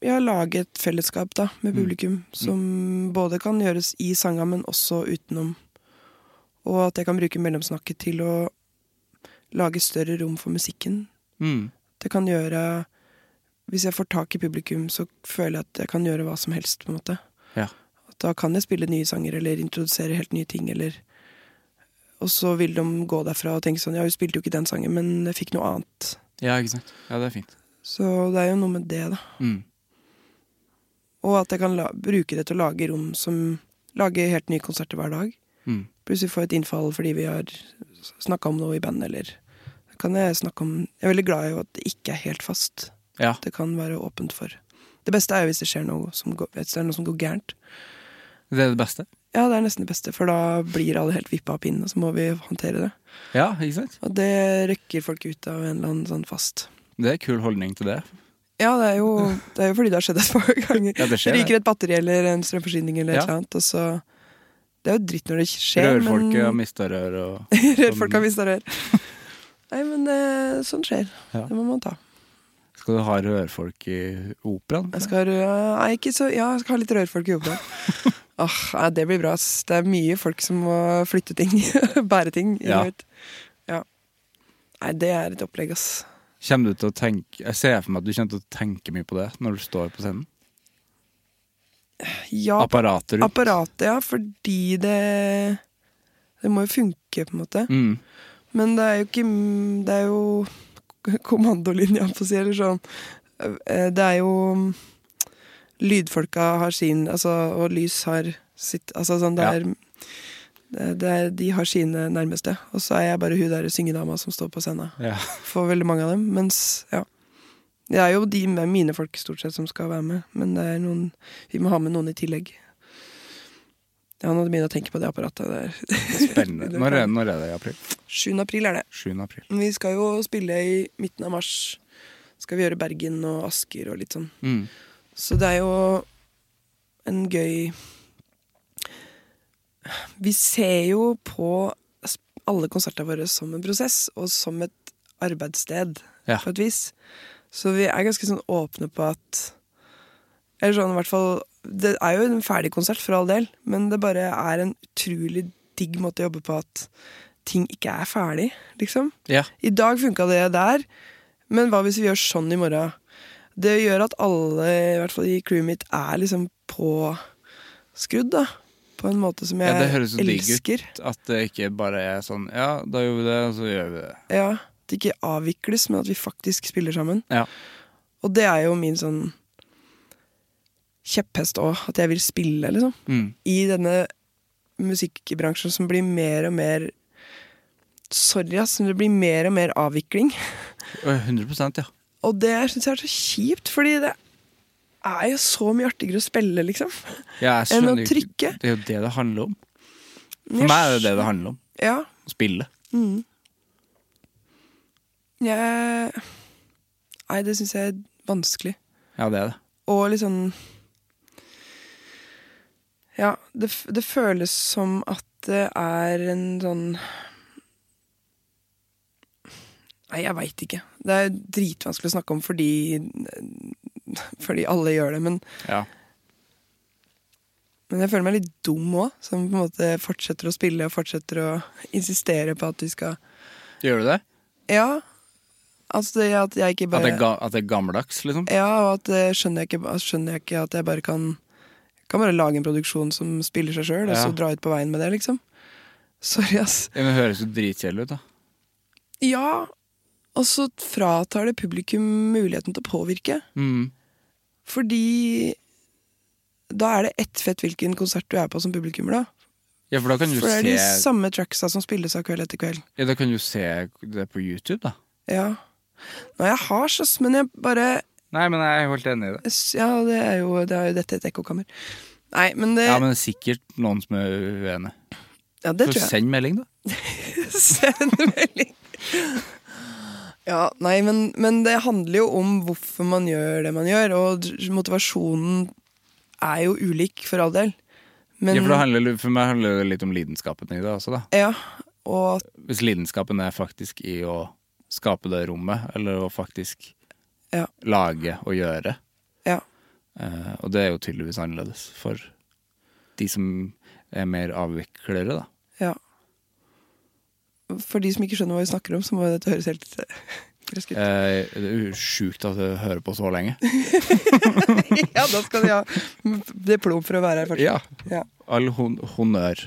Speaker 2: Ja, lage et fellesskap, da, med publikum, som både kan gjøres i sanga, men også utenom. Og at jeg kan bruke mellomsnakket til å lage større rom for musikken.
Speaker 3: Mm.
Speaker 2: Det kan gjøre Hvis jeg får tak i publikum, så føler jeg at jeg kan gjøre hva som helst. på en måte.
Speaker 3: Ja.
Speaker 2: At Da kan jeg spille nye sanger eller introdusere helt nye ting. eller... Og så vil de gå derfra og tenke sånn Ja, hun spilte jo ikke den sangen, men jeg fikk noe annet.
Speaker 3: ja, ikke sant. Ja, det er fint.
Speaker 2: Så det er jo noe med det, da.
Speaker 3: Mm.
Speaker 2: Og at jeg kan la bruke det til å lage rom som Lage helt nye konserter hver dag.
Speaker 3: Mm.
Speaker 2: Plutselig får jeg et innfall fordi vi har snakka om noe i bandet, eller Da kan jeg snakke om Jeg er veldig glad i at det ikke er helt fast.
Speaker 3: Ja.
Speaker 2: det kan være åpent for. Det beste er jo hvis det skjer noe som går, hvis det er noe som går gærent.
Speaker 3: Det er det beste.
Speaker 2: Ja, det er nesten det beste, for da blir alle helt vippa av pinnen, og så må vi håndtere det.
Speaker 3: Ja, ikke sant?
Speaker 2: Og det røkker folk ut av en eller annen sånn fast.
Speaker 3: Det er en kul holdning til det.
Speaker 2: Ja, det er jo, det er jo fordi det har skjedd et par ganger.
Speaker 3: Ja, det skjer,
Speaker 2: ryker et batteri eller en strømforsyning eller
Speaker 3: Ja.
Speaker 2: et eller annet, og så Det er jo dritt når det skjer,
Speaker 3: Rørfolket sånn- har
Speaker 2: men
Speaker 3: mista rør og
Speaker 2: Rørfolk har mista rør. Nei, men eh, sånn skjer.
Speaker 3: Ja.
Speaker 2: Det må man ta.
Speaker 3: Skal du ha rørfolk i operaen?
Speaker 2: Jeg skal, ha- nei, ikke så, ja, jeg skal ha litt rørfolk i jobben. Åh, nei, det blir bra. ass. Det er mye folk som må flytte ting, bære ting. inn
Speaker 3: Ja.
Speaker 2: og ut. ja. Nei, det er et opplegg, ass.
Speaker 3: Kommer du til å tenke Jeg ser for meg at du kommer til å tenke mye på det når du står på scenen.
Speaker 2: Ja,
Speaker 3: Apparatet rundt.
Speaker 2: apparatet, ja, fordi det Det må jo funke, på en måte.
Speaker 3: Mm.
Speaker 2: Men det er jo ikke Det er jo k- kommandolinja, for å si eller sånn. Eh, Det er jo mm, Lydfolka har sin altså, Og lys har sitt Altså sånn, det
Speaker 3: Ja.
Speaker 2: er eh, det- det er, de har sine nærmeste, og så er jeg bare hun der syngedama som står på scenen.
Speaker 3: Ja.
Speaker 2: For veldig mange av dem. Mens, ja Det er jo de med mine folk stort sett som skal være med, men det er noen vi må ha med noen i tillegg. Ja, nå begynner jeg å tenke på det apparatet der.
Speaker 3: Spennende. Når er, når er det i april?
Speaker 2: 7. april er det.
Speaker 3: 7. april.
Speaker 2: Men Vi skal jo spille i midten av mars. Skal vi gjøre Bergen og Asker og litt sånn.
Speaker 3: Mm.
Speaker 2: Så det er jo en gøy Vi ser jo på sp- alle konsertene våre som en prosess, og som et arbeidssted,
Speaker 3: Ja.
Speaker 2: på et vis. Så vi er ganske sånn åpne på at Eller sånn i hvert fall Det er jo en ferdig konsert, for all del, men det bare er en utrolig digg måte å jobbe på at ting ikke er ferdig, liksom.
Speaker 3: Ja.
Speaker 2: I dag funka det der, men hva hvis vi gjør sånn i morgen? Det gjør at alle, i hvert fall i crewet mitt, er liksom påskrudd, da. På en måte som jeg
Speaker 3: ja, det høres så digg
Speaker 2: elsker.
Speaker 3: ut at det ikke bare er sånn Ja, da gjør vi det, og så gjør vi det.
Speaker 2: Ja, At det ikke avvikles, men at vi faktisk spiller sammen.
Speaker 3: Ja.
Speaker 2: Og det er jo min sånn kjepphest òg, at jeg vil spille, liksom.
Speaker 3: Mm.
Speaker 2: I denne musikkbransjen som blir mer og mer Sorry, ass, men det blir mer og mer avvikling.
Speaker 3: Å, 100 ja.
Speaker 2: Og det syns jeg er så kjipt, fordi det er jo så mye artigere å spille, liksom.
Speaker 3: Jeg
Speaker 2: Enn å
Speaker 3: skjønner jo ikke-
Speaker 2: trykke.
Speaker 3: Det er jo det det handler om. For
Speaker 2: Jeg
Speaker 3: meg er det det det handler om.
Speaker 2: Ja.
Speaker 3: Å spille.
Speaker 2: Jeg Nei, det syns jeg er vanskelig.
Speaker 3: Ja, det er det.
Speaker 2: Og liksom Ja, det, f- det føles som at det er en sånn Nei, jeg veit ikke. Det er dritvanskelig å snakke om fordi Fordi alle gjør det, men,
Speaker 3: Ja.
Speaker 2: men jeg føler meg litt dum òg, som på en måte fortsetter å spille og fortsetter å insistere på at vi skal
Speaker 3: Gjør du det?
Speaker 2: Ja. Altså det at jeg ikke
Speaker 3: At
Speaker 2: bare
Speaker 3: det, er ga, at det er gammeldags, liksom?
Speaker 2: Ja, og at eh, skjønner jeg ikke, altså, skjønner jeg ikke at jeg bare kan Kan bare lage en produksjon som spiller seg sjøl, og
Speaker 3: Ja.
Speaker 2: så dra ut på veien med det, liksom. Sorry, ass.
Speaker 3: Ja, men Det høres jo dritkjedelig ut, da.
Speaker 2: Ja, og så fratar det publikum muligheten til å påvirke.
Speaker 3: Mm.
Speaker 2: Fordi da er det ett fett hvilken konsert du er på som publikummer, da.
Speaker 3: Ja, for da kan du
Speaker 2: For det er de
Speaker 3: se
Speaker 2: samme tracksa som spilles av kveld etter kveld.
Speaker 3: Ja, da kan du se det på YouTube, da.
Speaker 2: Ja. Nei, jeg har sånn, men jeg bare
Speaker 3: Nei, men jeg er helt enig i det.
Speaker 2: Ja, det er jo, det er jo dette et ekkokammer. Nei, men det,
Speaker 3: Ja, men det er sikkert noen som er uenig.
Speaker 2: ja, det
Speaker 3: Så
Speaker 2: tror jeg.
Speaker 3: send melding, da.
Speaker 2: Send melding. Ja, nei, men, men det handler jo om hvorfor man gjør det man gjør, og motivasjonen er jo ulik for all del. Men,
Speaker 3: ja, for, det handler, for meg handler det litt om lidenskapen i det også, da.
Speaker 2: ja, og
Speaker 3: Hvis lidenskapen er faktisk i å skape det rommet, eller å faktisk
Speaker 2: Ja.
Speaker 3: lage og gjøre.
Speaker 2: ja,
Speaker 3: Eh, og det er jo tydeligvis annerledes for de som er mer avviklere, da.
Speaker 2: ja. For de som ikke skjønner hva vi snakker om, så må jo dette høres helt eh, grøsk ut.
Speaker 3: Eh, det er jo sjukt at du hører på så lenge.
Speaker 2: Ja, da skal de ha diplom for å være her fortsatt.
Speaker 3: Ja.
Speaker 2: Ja.
Speaker 3: All hon honnør.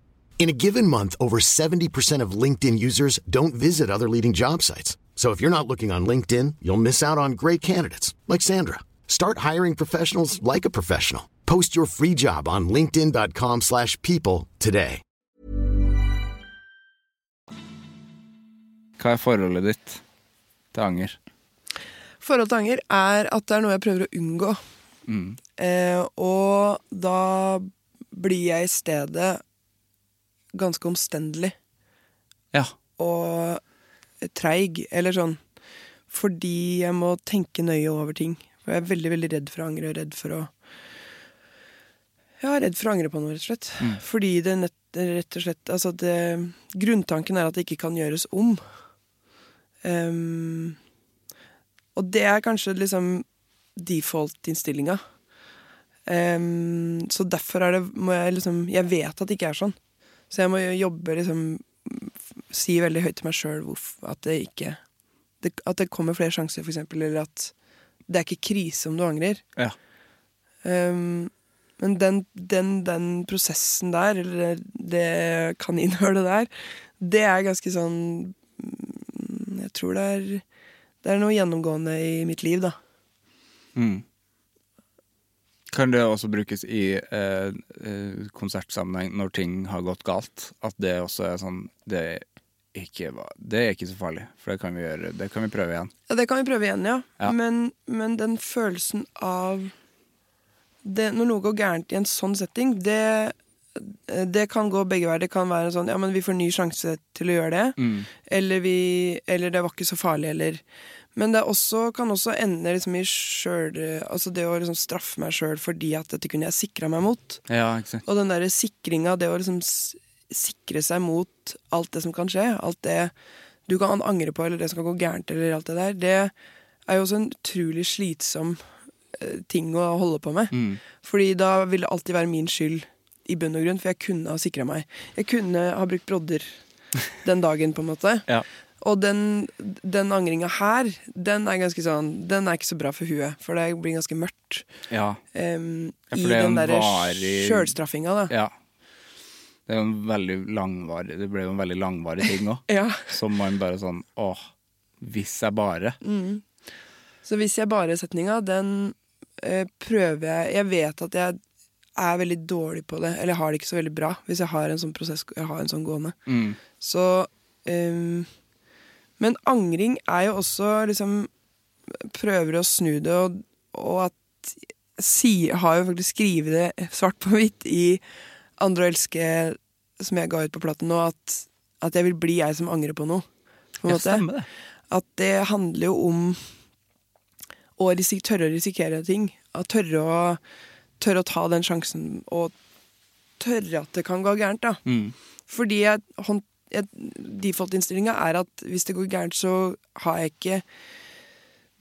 Speaker 4: In a given month, over 70% of LinkedIn users don't visit other leading job sites. So if you're not looking on LinkedIn, you'll miss out on great candidates like Sandra. Start hiring professionals like a professional. Post your free job on linkedin.com/people slash people today.
Speaker 3: Hva er forholdet ditt til anger?
Speaker 2: Forhold til anger er at det er noe jeg prøver å unngå.
Speaker 3: Mm.
Speaker 2: Eh, og da blir jeg i stedet ganske omstendelig
Speaker 3: Ja.
Speaker 2: og treig, eller sånn. Fordi jeg må tenke nøye over ting. For jeg er veldig veldig redd for å angre og redd for å Ja, redd for å angre på noe, rett og slett. Fordi det nett, rett og slett Altså, det, grunntanken er at det ikke kan gjøres om. Ehm, og det er kanskje liksom default-innstillinga. Ehm, så derfor er det må jeg liksom Jeg vet at det ikke er sånn. Så jeg må jo jobbe liksom si veldig høyt til meg sjøl at det ikke det, At det kommer flere sjanser, for eksempel, eller at det er ikke krise om du angrer.
Speaker 3: ja.
Speaker 2: Um, men den, den, den prosessen der, eller det, det kaninhølet der, det er ganske sånn mm, Jeg tror det er Det er noe gjennomgående i mitt liv, da.
Speaker 3: Mm. Kan det også brukes i eh, eh, konsertsammenheng når ting har gått galt? At det også er sånn Det er ikke, va- det er ikke så farlig, for det kan vi gjøre. Det kan vi prøve igjen.
Speaker 2: Ja, det kan vi prøve igjen, ja.
Speaker 3: Ja.
Speaker 2: Men, men den følelsen av det, Når noe går gærent i en sånn setting, det, det kan gå begge veier. Det kan være sånn ja, men vi får ny sjanse til å gjøre det. Eller, vi, eller det var ikke så farlig, eller Men det er også, kan også ende liksom i sjøl Altså det å liksom straffe meg sjøl fordi at dette kunne jeg sikra meg mot.
Speaker 3: Ja, ikke sant?
Speaker 2: Og den derre sikringa, det å liksom s- sikre seg mot alt det som kan skje, alt det du kan angre på, eller det som kan gå gærent, eller alt det der, det er jo også en utrolig slitsom eh, ting å holde på med.
Speaker 3: Mm.
Speaker 2: Fordi da ville det alltid være min skyld i bunn og grunn, for jeg kunne ha sikra meg. Jeg kunne ha brukt brodder den dagen, på en måte.
Speaker 3: Ja.
Speaker 2: Og den, den angringa her, den er ganske sånn Den er ikke så bra for huet, for det blir ganske mørkt.
Speaker 3: Ja.
Speaker 2: em,
Speaker 3: Ja, for
Speaker 2: I
Speaker 3: det er
Speaker 2: den
Speaker 3: en
Speaker 2: derre
Speaker 3: varig-
Speaker 2: sjølstraffinga, da.
Speaker 3: ja. Det, er jo en veldig langvarig, det ble jo en veldig langvarig ting òg.
Speaker 2: Ja.
Speaker 3: Som man bare sånn Åh, hvis jeg bare Mm.
Speaker 2: Så hvis jeg bare setninga, den eh, prøver jeg Jeg vet at jeg er veldig dårlig på det, eller jeg har det ikke så veldig bra, hvis jeg har en sånn prosess jeg har en sånn gående.
Speaker 3: Mm.
Speaker 2: Så em, Men angring er jo også liksom Prøver å snu det, og, og at si, Har jo faktisk skrevet det svart på hvitt i Andre å elske, som jeg ga ut på platen nå, at, at jeg vil bli jeg som angrer på noe. På en
Speaker 3: Ja,
Speaker 2: måte.
Speaker 3: stemmer det.
Speaker 2: At det handler jo om å risik tørre å risikere ting. Å tørre å, tørre å ta den sjansen, og tørre at det kan gå gærent. da. Fordi jeg, hånd- jeg, default-innstillinga er at hvis det går gærent, så har jeg ikke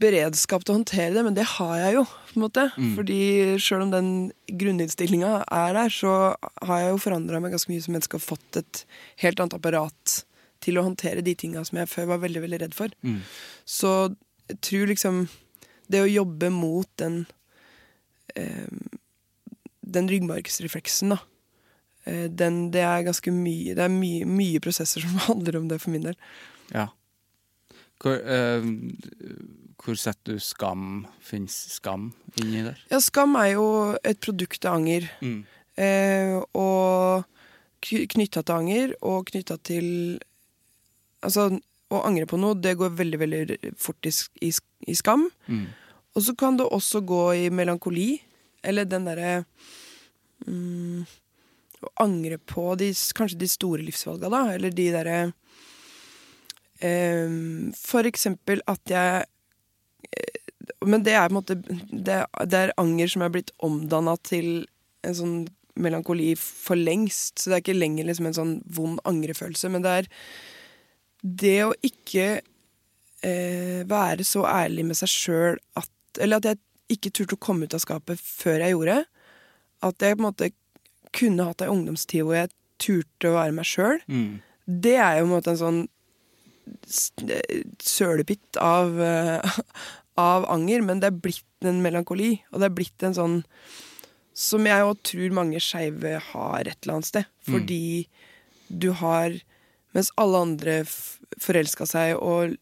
Speaker 2: beredskap til å håndtere det, men det har jeg jo. på en måte. Fordi sjøl om den grunninnstillinga er der, så har jeg jo forandra meg ganske mye som menneske og fått et helt annet apparat til å håndtere de tinga som jeg før var veldig veldig redd for. Så jeg tror liksom det å jobbe mot den eh, den ryggmargsrefleksen, da. Eh, Den, det er ganske mye Det er mye, mye prosesser som handler om det, for min del.
Speaker 3: Ja. Hvor, eh, hvor setter du skam? Fins skam inni der?
Speaker 2: Ja, skam er jo et produkt av anger. Eh, og knytta til anger, og knytta til Altså, å angre på noe, det går veldig, veldig fort i, sk- i, sk- i skam. Og så kan det også gå i melankoli, eller den derre mm, Å angre på de, s- kanskje de store livsvalga, da, eller de derre eh, For eksempel at jeg men det er på en måte Det, det er anger som er blitt omdanna til en sånn melankoli for lengst. Så det er ikke lenger liksom en sånn vond angrefølelse. Men det er det å ikke eh, være så ærlig med seg sjøl at Eller at jeg ikke turte å komme ut av skapet før jeg gjorde. At jeg på en måte kunne hatt ei ungdomstid hvor jeg turte å være meg sjøl.
Speaker 3: Mm.
Speaker 2: Det er jo på en måte en sånn s- eh, sølepytt av, eh, av anger, men det er blitt en melankoli. Og det er blitt en sånn som jeg òg tror mange skeive har et eller annet sted. Fordi du har Mens alle andre f- forelska seg og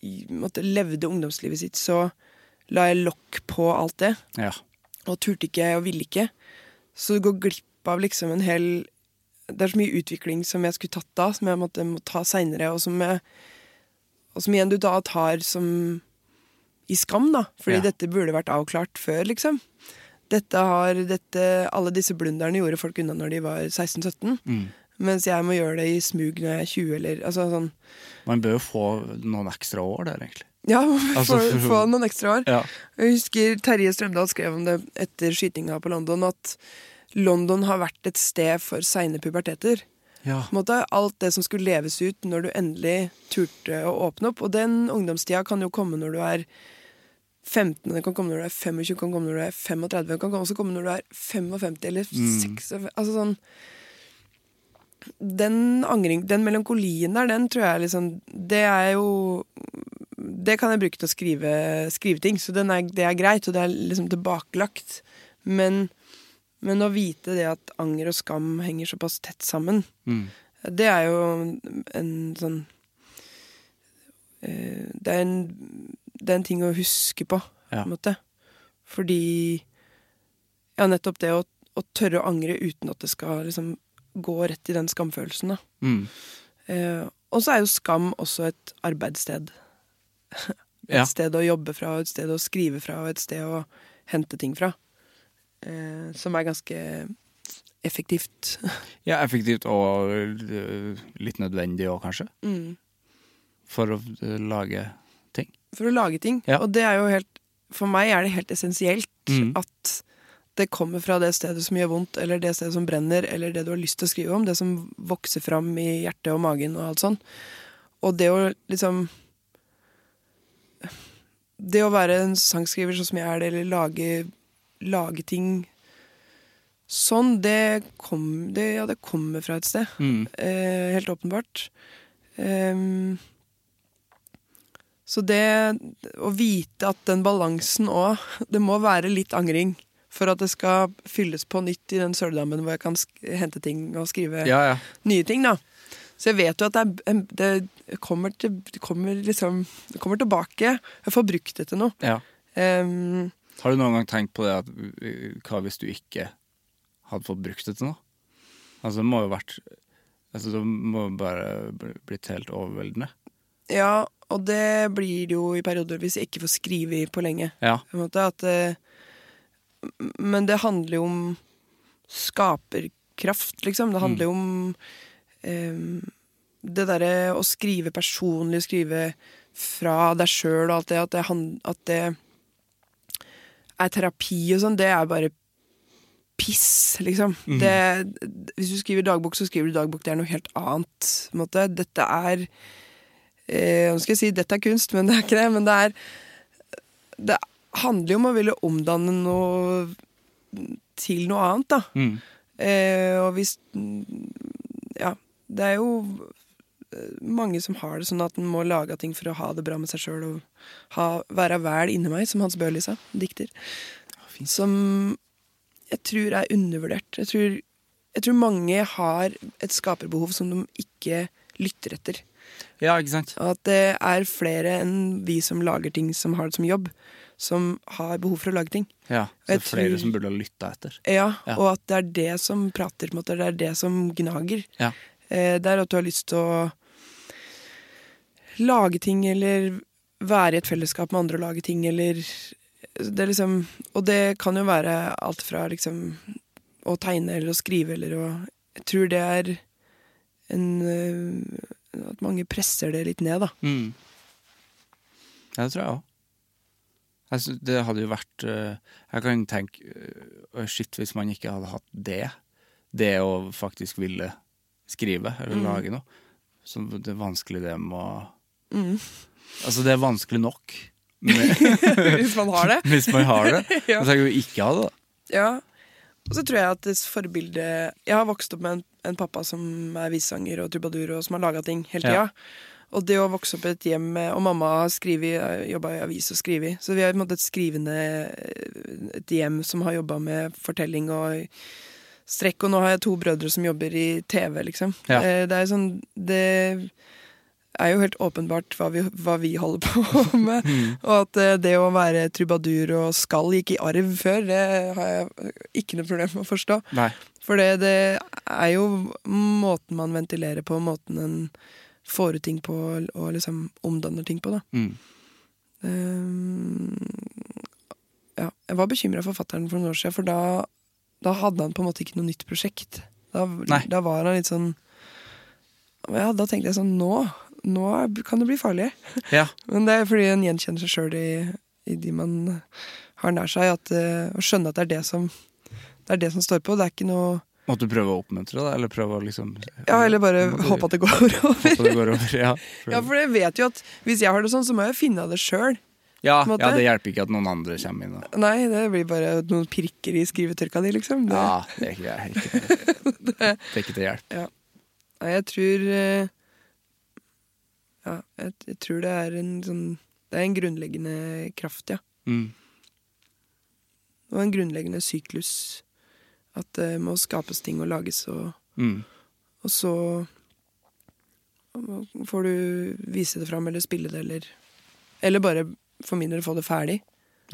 Speaker 2: i- måtte levde ungdomslivet sitt, så la jeg lokk på alt det
Speaker 3: Ja.
Speaker 2: og turte ikke og ville ikke. Så du går glipp av liksom en hel Det er så mye utvikling som jeg skulle tatt da, som jeg måtte må ta seinere, og, som jeg- og som igjen du da tar som i skam, da. Fordi
Speaker 3: Ja.
Speaker 2: dette burde vært avklart før, liksom. Dette har, dette, alle disse blunderne gjorde folk unna når de var 16-17. Mens jeg må gjøre det i smug når jeg er 20, eller altså sånn.
Speaker 3: Man bør jo få noen ekstra år der, egentlig.
Speaker 2: Ja,
Speaker 3: Altså,
Speaker 2: få,
Speaker 3: for-
Speaker 2: få noen ekstra år.
Speaker 3: Ja.
Speaker 2: Jeg husker Terje Strømdal skrev om det etter skytinga på London, at London har vært et sted for seine puberteter.
Speaker 3: Ja.
Speaker 2: På en måte Alt det som skulle leves ut når du endelig turte å åpne opp. Og den ungdomstida kan jo komme når du er 15, den kan komme når du er 25, den kan komme når du er 35, den kan også komme når du er 55 eller 56 Altså sånn den angring, den melankolien der, den tror jeg liksom Det er jo Det kan jeg bruke til å skrive, skrive ting, så den er, det er greit, og det er liksom tilbakelagt. Men, men å vite det at anger og skam henger såpass tett sammen,
Speaker 3: Mm.
Speaker 2: det er jo en sånn eh, det, er en, det er en ting å huske på, på
Speaker 3: Ja.
Speaker 2: en måte. Fordi Ja, nettopp det å, å tørre å angre uten at det skal liksom gå rett i den skamfølelsen, da.
Speaker 3: Mm.
Speaker 2: Eh, og så er jo skam også et arbeidssted. Et
Speaker 3: Ja.
Speaker 2: sted å jobbe fra, et sted å skrive fra, og et sted å hente ting fra. Eh, som er ganske effektivt.
Speaker 3: ja, effektivt og øh, litt nødvendig òg, kanskje. For å øh, lage ting.
Speaker 2: For å lage ting.
Speaker 3: Ja.
Speaker 2: Og det er jo helt For meg er det helt essensielt
Speaker 3: Mm.
Speaker 2: at det kommer fra det stedet som gjør vondt, eller det stedet som brenner, eller det du har lyst til å skrive om. Det som vokser fram i hjertet og magen og alt sånn. Og det å liksom det å være en sangskriver sånn som jeg er det, eller lage, lage ting sånn, det, kom, det, ja, det kommer fra et sted. Eh, helt åpenbart. Ehm, så det å vite at den balansen òg Det må være litt angring for at det skal fylles på nytt i den søledammen hvor jeg kan sk hente ting og skrive
Speaker 3: Ja, ja.
Speaker 2: nye ting, da. Så jeg vet jo at det, er, en- det, kommer, til, det, kommer, liksom, det kommer tilbake. Jeg får brukt det til noe.
Speaker 3: ja.
Speaker 2: Ehm,
Speaker 3: Har du noen gang tenkt på det at uh, hva hvis du ikke hadde fått brukt det til noe? Altså det må jo vært Altså det må jo bare bli- blitt helt overveldende.
Speaker 2: ja, og det blir det jo i perioder hvis jeg ikke får skrive på lenge.
Speaker 3: Ja.
Speaker 2: På en måte, at, eh, m- men det handler jo om skaperkraft, liksom. Det handler jo om eh, det derre å skrive personlig, skrive fra deg sjøl og alt det, at det, han- at det er terapi og sånn, det er bare piss, liksom. Det, hvis du skriver dagbok, så skriver du dagbok. Det er noe helt annet. På en måte. Dette er eh, Nå skal jeg si dette er kunst, men det er ikke det. Men det er det handler jo om å ville omdanne noe til noe annet, da.
Speaker 3: Mm.
Speaker 2: Eh, og hvis Ja. Det er jo eh, mange som har det sånn at en må lage ting for å ha det bra med seg sjøl og ha, være vel inni meg, som Hans Børli sa, dikter. Som jeg tror er undervurdert. Jeg tror, jeg tror mange har et skaperbehov som de ikke lytter etter.
Speaker 3: ja, ikke sant?
Speaker 2: Og At det er flere enn vi som lager ting som har det som jobb, som har behov for å lage ting.
Speaker 3: Ja. Så det
Speaker 2: Jeg
Speaker 3: er flere
Speaker 2: tror-
Speaker 3: som burde ha lytta etter.
Speaker 2: Ja,
Speaker 3: Ja.
Speaker 2: Og at det er det som prater, på en måte. Det er det som gnager.
Speaker 3: Ja.
Speaker 2: Eh, det er at du har lyst til å lage ting, eller være i et fellesskap med andre og lage ting, eller det er liksom, Og det kan jo være alt fra liksom å tegne eller å skrive eller å Jeg tror det er en eh, At mange presser det litt ned, da.
Speaker 3: Mm. Ja, det tror jeg òg. Altså, det hadde jo vært eh, Jeg kan tenke eh, «Å, Shit, hvis man ikke hadde hatt det. Det å faktisk ville skrive
Speaker 2: Mm.
Speaker 3: eller lage noe. Så det er vanskelig det med å
Speaker 2: Mm.
Speaker 3: Altså, det er vanskelig nok med,
Speaker 2: Hvis man har det.
Speaker 3: hvis man har det.
Speaker 2: Ja.
Speaker 3: Men tenk om vi ikke hadde det.
Speaker 2: Ja. Og så tror jeg at det forbildet Jeg har vokst opp med en, en pappa som er visesanger og trubadur, og som har laga ting hele tida.
Speaker 3: Ja.
Speaker 2: Og det å vokse opp i et hjem med Og mamma har jobba i avis og skrevet. Så vi har på en måte et skrivende eh, Et hjem som har jobba med fortelling og strekk. Og nå har jeg to brødre som jobber i TV, liksom.
Speaker 3: Ja.
Speaker 2: Eh, Det er jo sånn Det er jo helt åpenbart hva vi, hva vi holder på med. Og at eh, det å være trubadur og skall gikk i arv før, det har jeg ikke noe problem med å forstå.
Speaker 3: Nei.
Speaker 2: For det, det er jo måten man ventilerer på, måten en får ut ting på og liksom omdanner ting på, da.
Speaker 3: Mm.
Speaker 2: Ehm, ja, jeg var bekymra for fattern for noen år siden, for da, da hadde han på en måte ikke noe nytt prosjekt. Da,
Speaker 3: Nei.
Speaker 2: da var han litt sånn Ja, da tenkte jeg sånn Nå, nå er- kan det bli farlig.
Speaker 3: Ja.
Speaker 2: Men det er fordi en gjenkjenner seg sjøl i, i de man har nær seg, at, eh, å skjønne at det er det som det er det som står på. Det er ikke noe
Speaker 3: Måtte du prøve å oppmuntre det, eller prøve å liksom
Speaker 2: Ja, eller bare
Speaker 3: Måtte du-
Speaker 2: håpe at det går
Speaker 3: håpe
Speaker 2: over.
Speaker 3: det går over. Ja,
Speaker 2: Ja, for jeg vet jo at hvis jeg har det sånn, så må jeg finne av det sjøl.
Speaker 3: ja,
Speaker 2: måte.
Speaker 3: ja, det hjelper ikke at noen andre kommer inn. Da.
Speaker 2: Nei, det blir bare noen pirker i skrivetørka di, liksom. Det,
Speaker 3: Ja, det er ikke, det er ikke, det er ikke til hjelp.
Speaker 2: Nei, jeg tror eh, Ja, jeg, jeg tror det er en sånn Det er en grunnleggende kraft, ja.
Speaker 3: Mm.
Speaker 2: Og en grunnleggende syklus. At det må skapes ting og lages og
Speaker 3: Mm.
Speaker 2: Og så får du vise det fram, eller spille det, eller Eller bare for min del få det ferdig.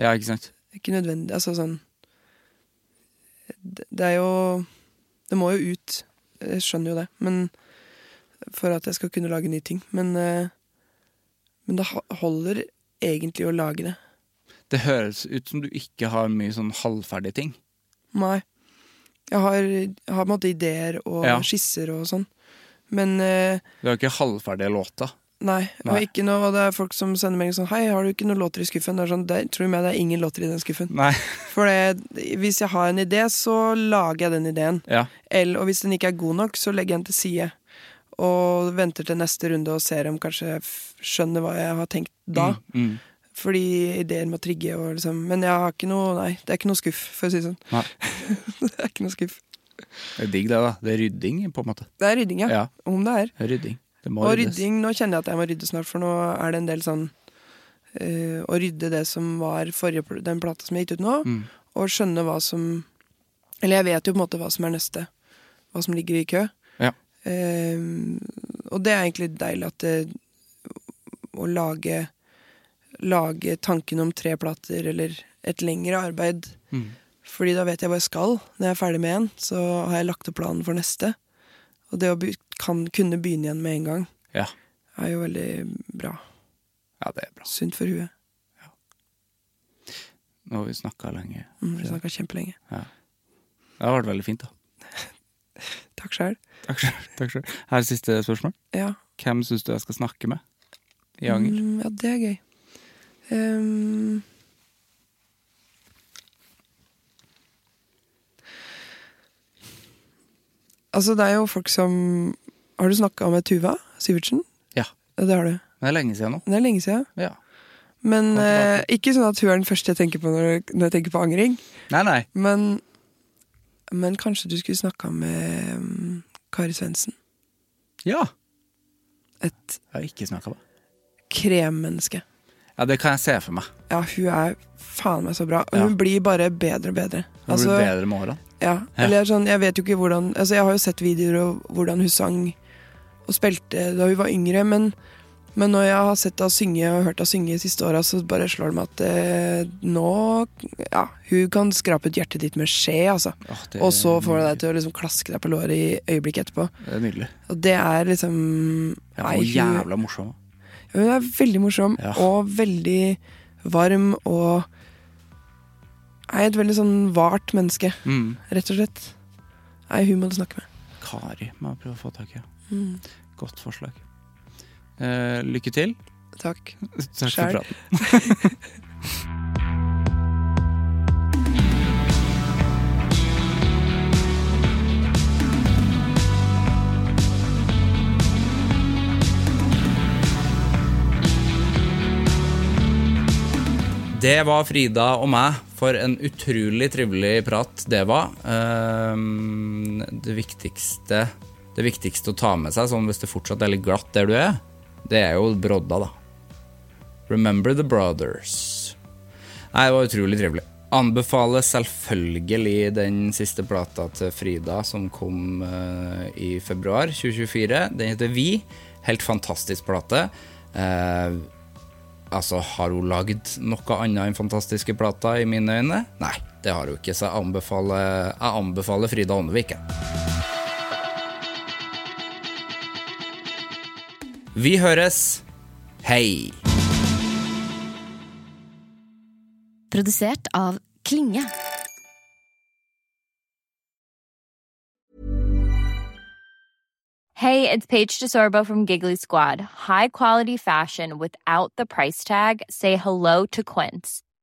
Speaker 3: Ja, ikke sant?
Speaker 2: Det er ikke nødvendig. Altså sånn Det det er jo Det må jo ut. Jeg skjønner jo det. Men For at jeg skal kunne lage nye ting. Men, eh, men det ho- holder egentlig å lage det.
Speaker 3: Det høres ut som du ikke har mye sånn halvferdige ting.
Speaker 2: Nei. Jeg har, jeg har på en måte ideer og
Speaker 3: Ja.
Speaker 2: skisser og sånn. Men eh,
Speaker 3: Du har ikke halvferdige låter.
Speaker 2: Nei,
Speaker 3: Nei.
Speaker 2: og ikke noe, og det er folk som sender melding sånn Hei, har du ikke noen låter i skuffen? Det er sånn, det, tror du meg, det er ingen låter i den skuffen.
Speaker 3: Nei.
Speaker 2: For det, hvis jeg har en idé, så lager jeg den ideen.
Speaker 3: Ja.
Speaker 2: Eller, og hvis den ikke er god nok, så legger jeg den til side. Og venter til neste runde og ser om kanskje jeg f- skjønner hva jeg har tenkt da.
Speaker 3: Mm.
Speaker 2: Fordi ideer må trigge og liksom Men jeg har ikke noe Nei, det er ikke noe skuff, for å si det sånn.
Speaker 3: Nei.
Speaker 2: det er ikke noe skuff.
Speaker 3: Det er digg, det, da. Det er rydding, på en måte.
Speaker 2: Det er rydding, ja.
Speaker 3: Ja.
Speaker 2: Om det er.
Speaker 3: Det er rydding. Det må
Speaker 2: Og
Speaker 3: ryddes.
Speaker 2: rydding, nå kjenner jeg at jeg må rydde snart, for nå er det en del sånn eh, Å rydde det som var forrige, pl- den plata som jeg gitt ut nå,
Speaker 3: Mm.
Speaker 2: og skjønne hva som Eller jeg vet jo på en måte hva som er neste. Hva som ligger i kø.
Speaker 3: Ja.
Speaker 2: Eh, og det er egentlig deilig at det, å lage Lage tanken om tre plater eller et lengre arbeid.
Speaker 3: Mm.
Speaker 2: Fordi da vet jeg hva jeg skal. Når jeg er ferdig med en, så har jeg lagt opp planen for neste. Og det å be kan kunne begynne igjen med en gang,
Speaker 3: Ja.
Speaker 2: er jo veldig bra.
Speaker 3: ja, det er bra.
Speaker 2: Sunt for huet.
Speaker 3: Nå har vi snakka lenge.
Speaker 2: Mm, Vi snakka kjempelenge.
Speaker 3: Det har vært veldig fint, da.
Speaker 2: Takk sjæl.
Speaker 3: Takk selv. Takk selv. Her er siste spørsmål.
Speaker 2: Ja.
Speaker 3: Hvem syns du jeg skal snakke med i Anger?
Speaker 2: Mm, ja, det er gøy. Ehm. altså, det er jo folk som Har du snakka med Tuva Syvertsen?
Speaker 3: Ja.
Speaker 2: Ja, Det har du.
Speaker 3: Det er lenge siden nå.
Speaker 2: Det er lenge siden.
Speaker 3: Ja.
Speaker 2: Men
Speaker 3: Kom tilbake.
Speaker 2: eh, ikke sånn at hun er den første jeg tenker på når, når jeg tenker på angring.
Speaker 3: Nei, nei.
Speaker 2: Men, men kanskje du skulle snakka med mm, Kari Svendsen.
Speaker 3: Ja.
Speaker 2: Et
Speaker 3: Jeg har ikke snakka med
Speaker 2: kremmenneske.
Speaker 3: Ja, det kan jeg se for meg.
Speaker 2: Ja, hun er faen meg så bra. Og
Speaker 3: Ja.
Speaker 2: Hun blir bare bedre og bedre. Altså,
Speaker 3: Det blir bedre med årene.
Speaker 2: Ja. Eller sånn, jeg vet jo ikke hvordan Altså, jeg har jo sett videoer av hvordan hun sang og spilte da hun var yngre, men, men når jeg har sett henne synge og hørt henne synge de siste åra, så bare slår det meg at eh, nå Ja, hun kan skrape ut hjertet ditt med skje, altså.
Speaker 3: Åh, det
Speaker 2: Og så
Speaker 3: er
Speaker 2: får hun deg til å liksom klaske deg på låret i øyeblikket etterpå.
Speaker 3: Det er nydelig.
Speaker 2: Og det er liksom
Speaker 3: Ja,
Speaker 2: Nei,
Speaker 3: hun er
Speaker 2: hun-
Speaker 3: jævla morsom.
Speaker 2: Hun er veldig morsom
Speaker 3: Ja.
Speaker 2: og veldig varm og er et veldig sånn vart menneske,
Speaker 3: Mm.
Speaker 2: rett og slett. Nei, hun må du snakke med.
Speaker 3: Kari må jeg prøve å få tak i.
Speaker 2: Mm.
Speaker 3: Godt forslag. Eh, lykke til.
Speaker 2: Takk.
Speaker 3: Takk
Speaker 2: Sjæl.
Speaker 3: for praten.
Speaker 1: Det var Frida og meg for en utrolig trivelig prat det var. Ehm, Det viktigste, det viktigste å ta med seg, sånn hvis det fortsatt er litt glatt der du er, det er jo brodda, da. Remember the Brothers. Nei, det var utrolig trivelig. Anbefaler selvfølgelig den siste plata til Frida som kom eh, i februar 2024. Den heter Vi. Helt fantastisk plate. Eh, Altså, har hun lagd noe annet enn fantastiske plater, i mine øyne? Nei, det har hun ikke, så jeg anbefaler, jeg anbefaler Frida Åndevik. jeg. Vi høres. Hei!
Speaker 5: Produsert av Klinge.
Speaker 6: Hey, it's Paige DeSorbo from Giggly Squad. High quality fashion without the price tag. Say hello to Quince.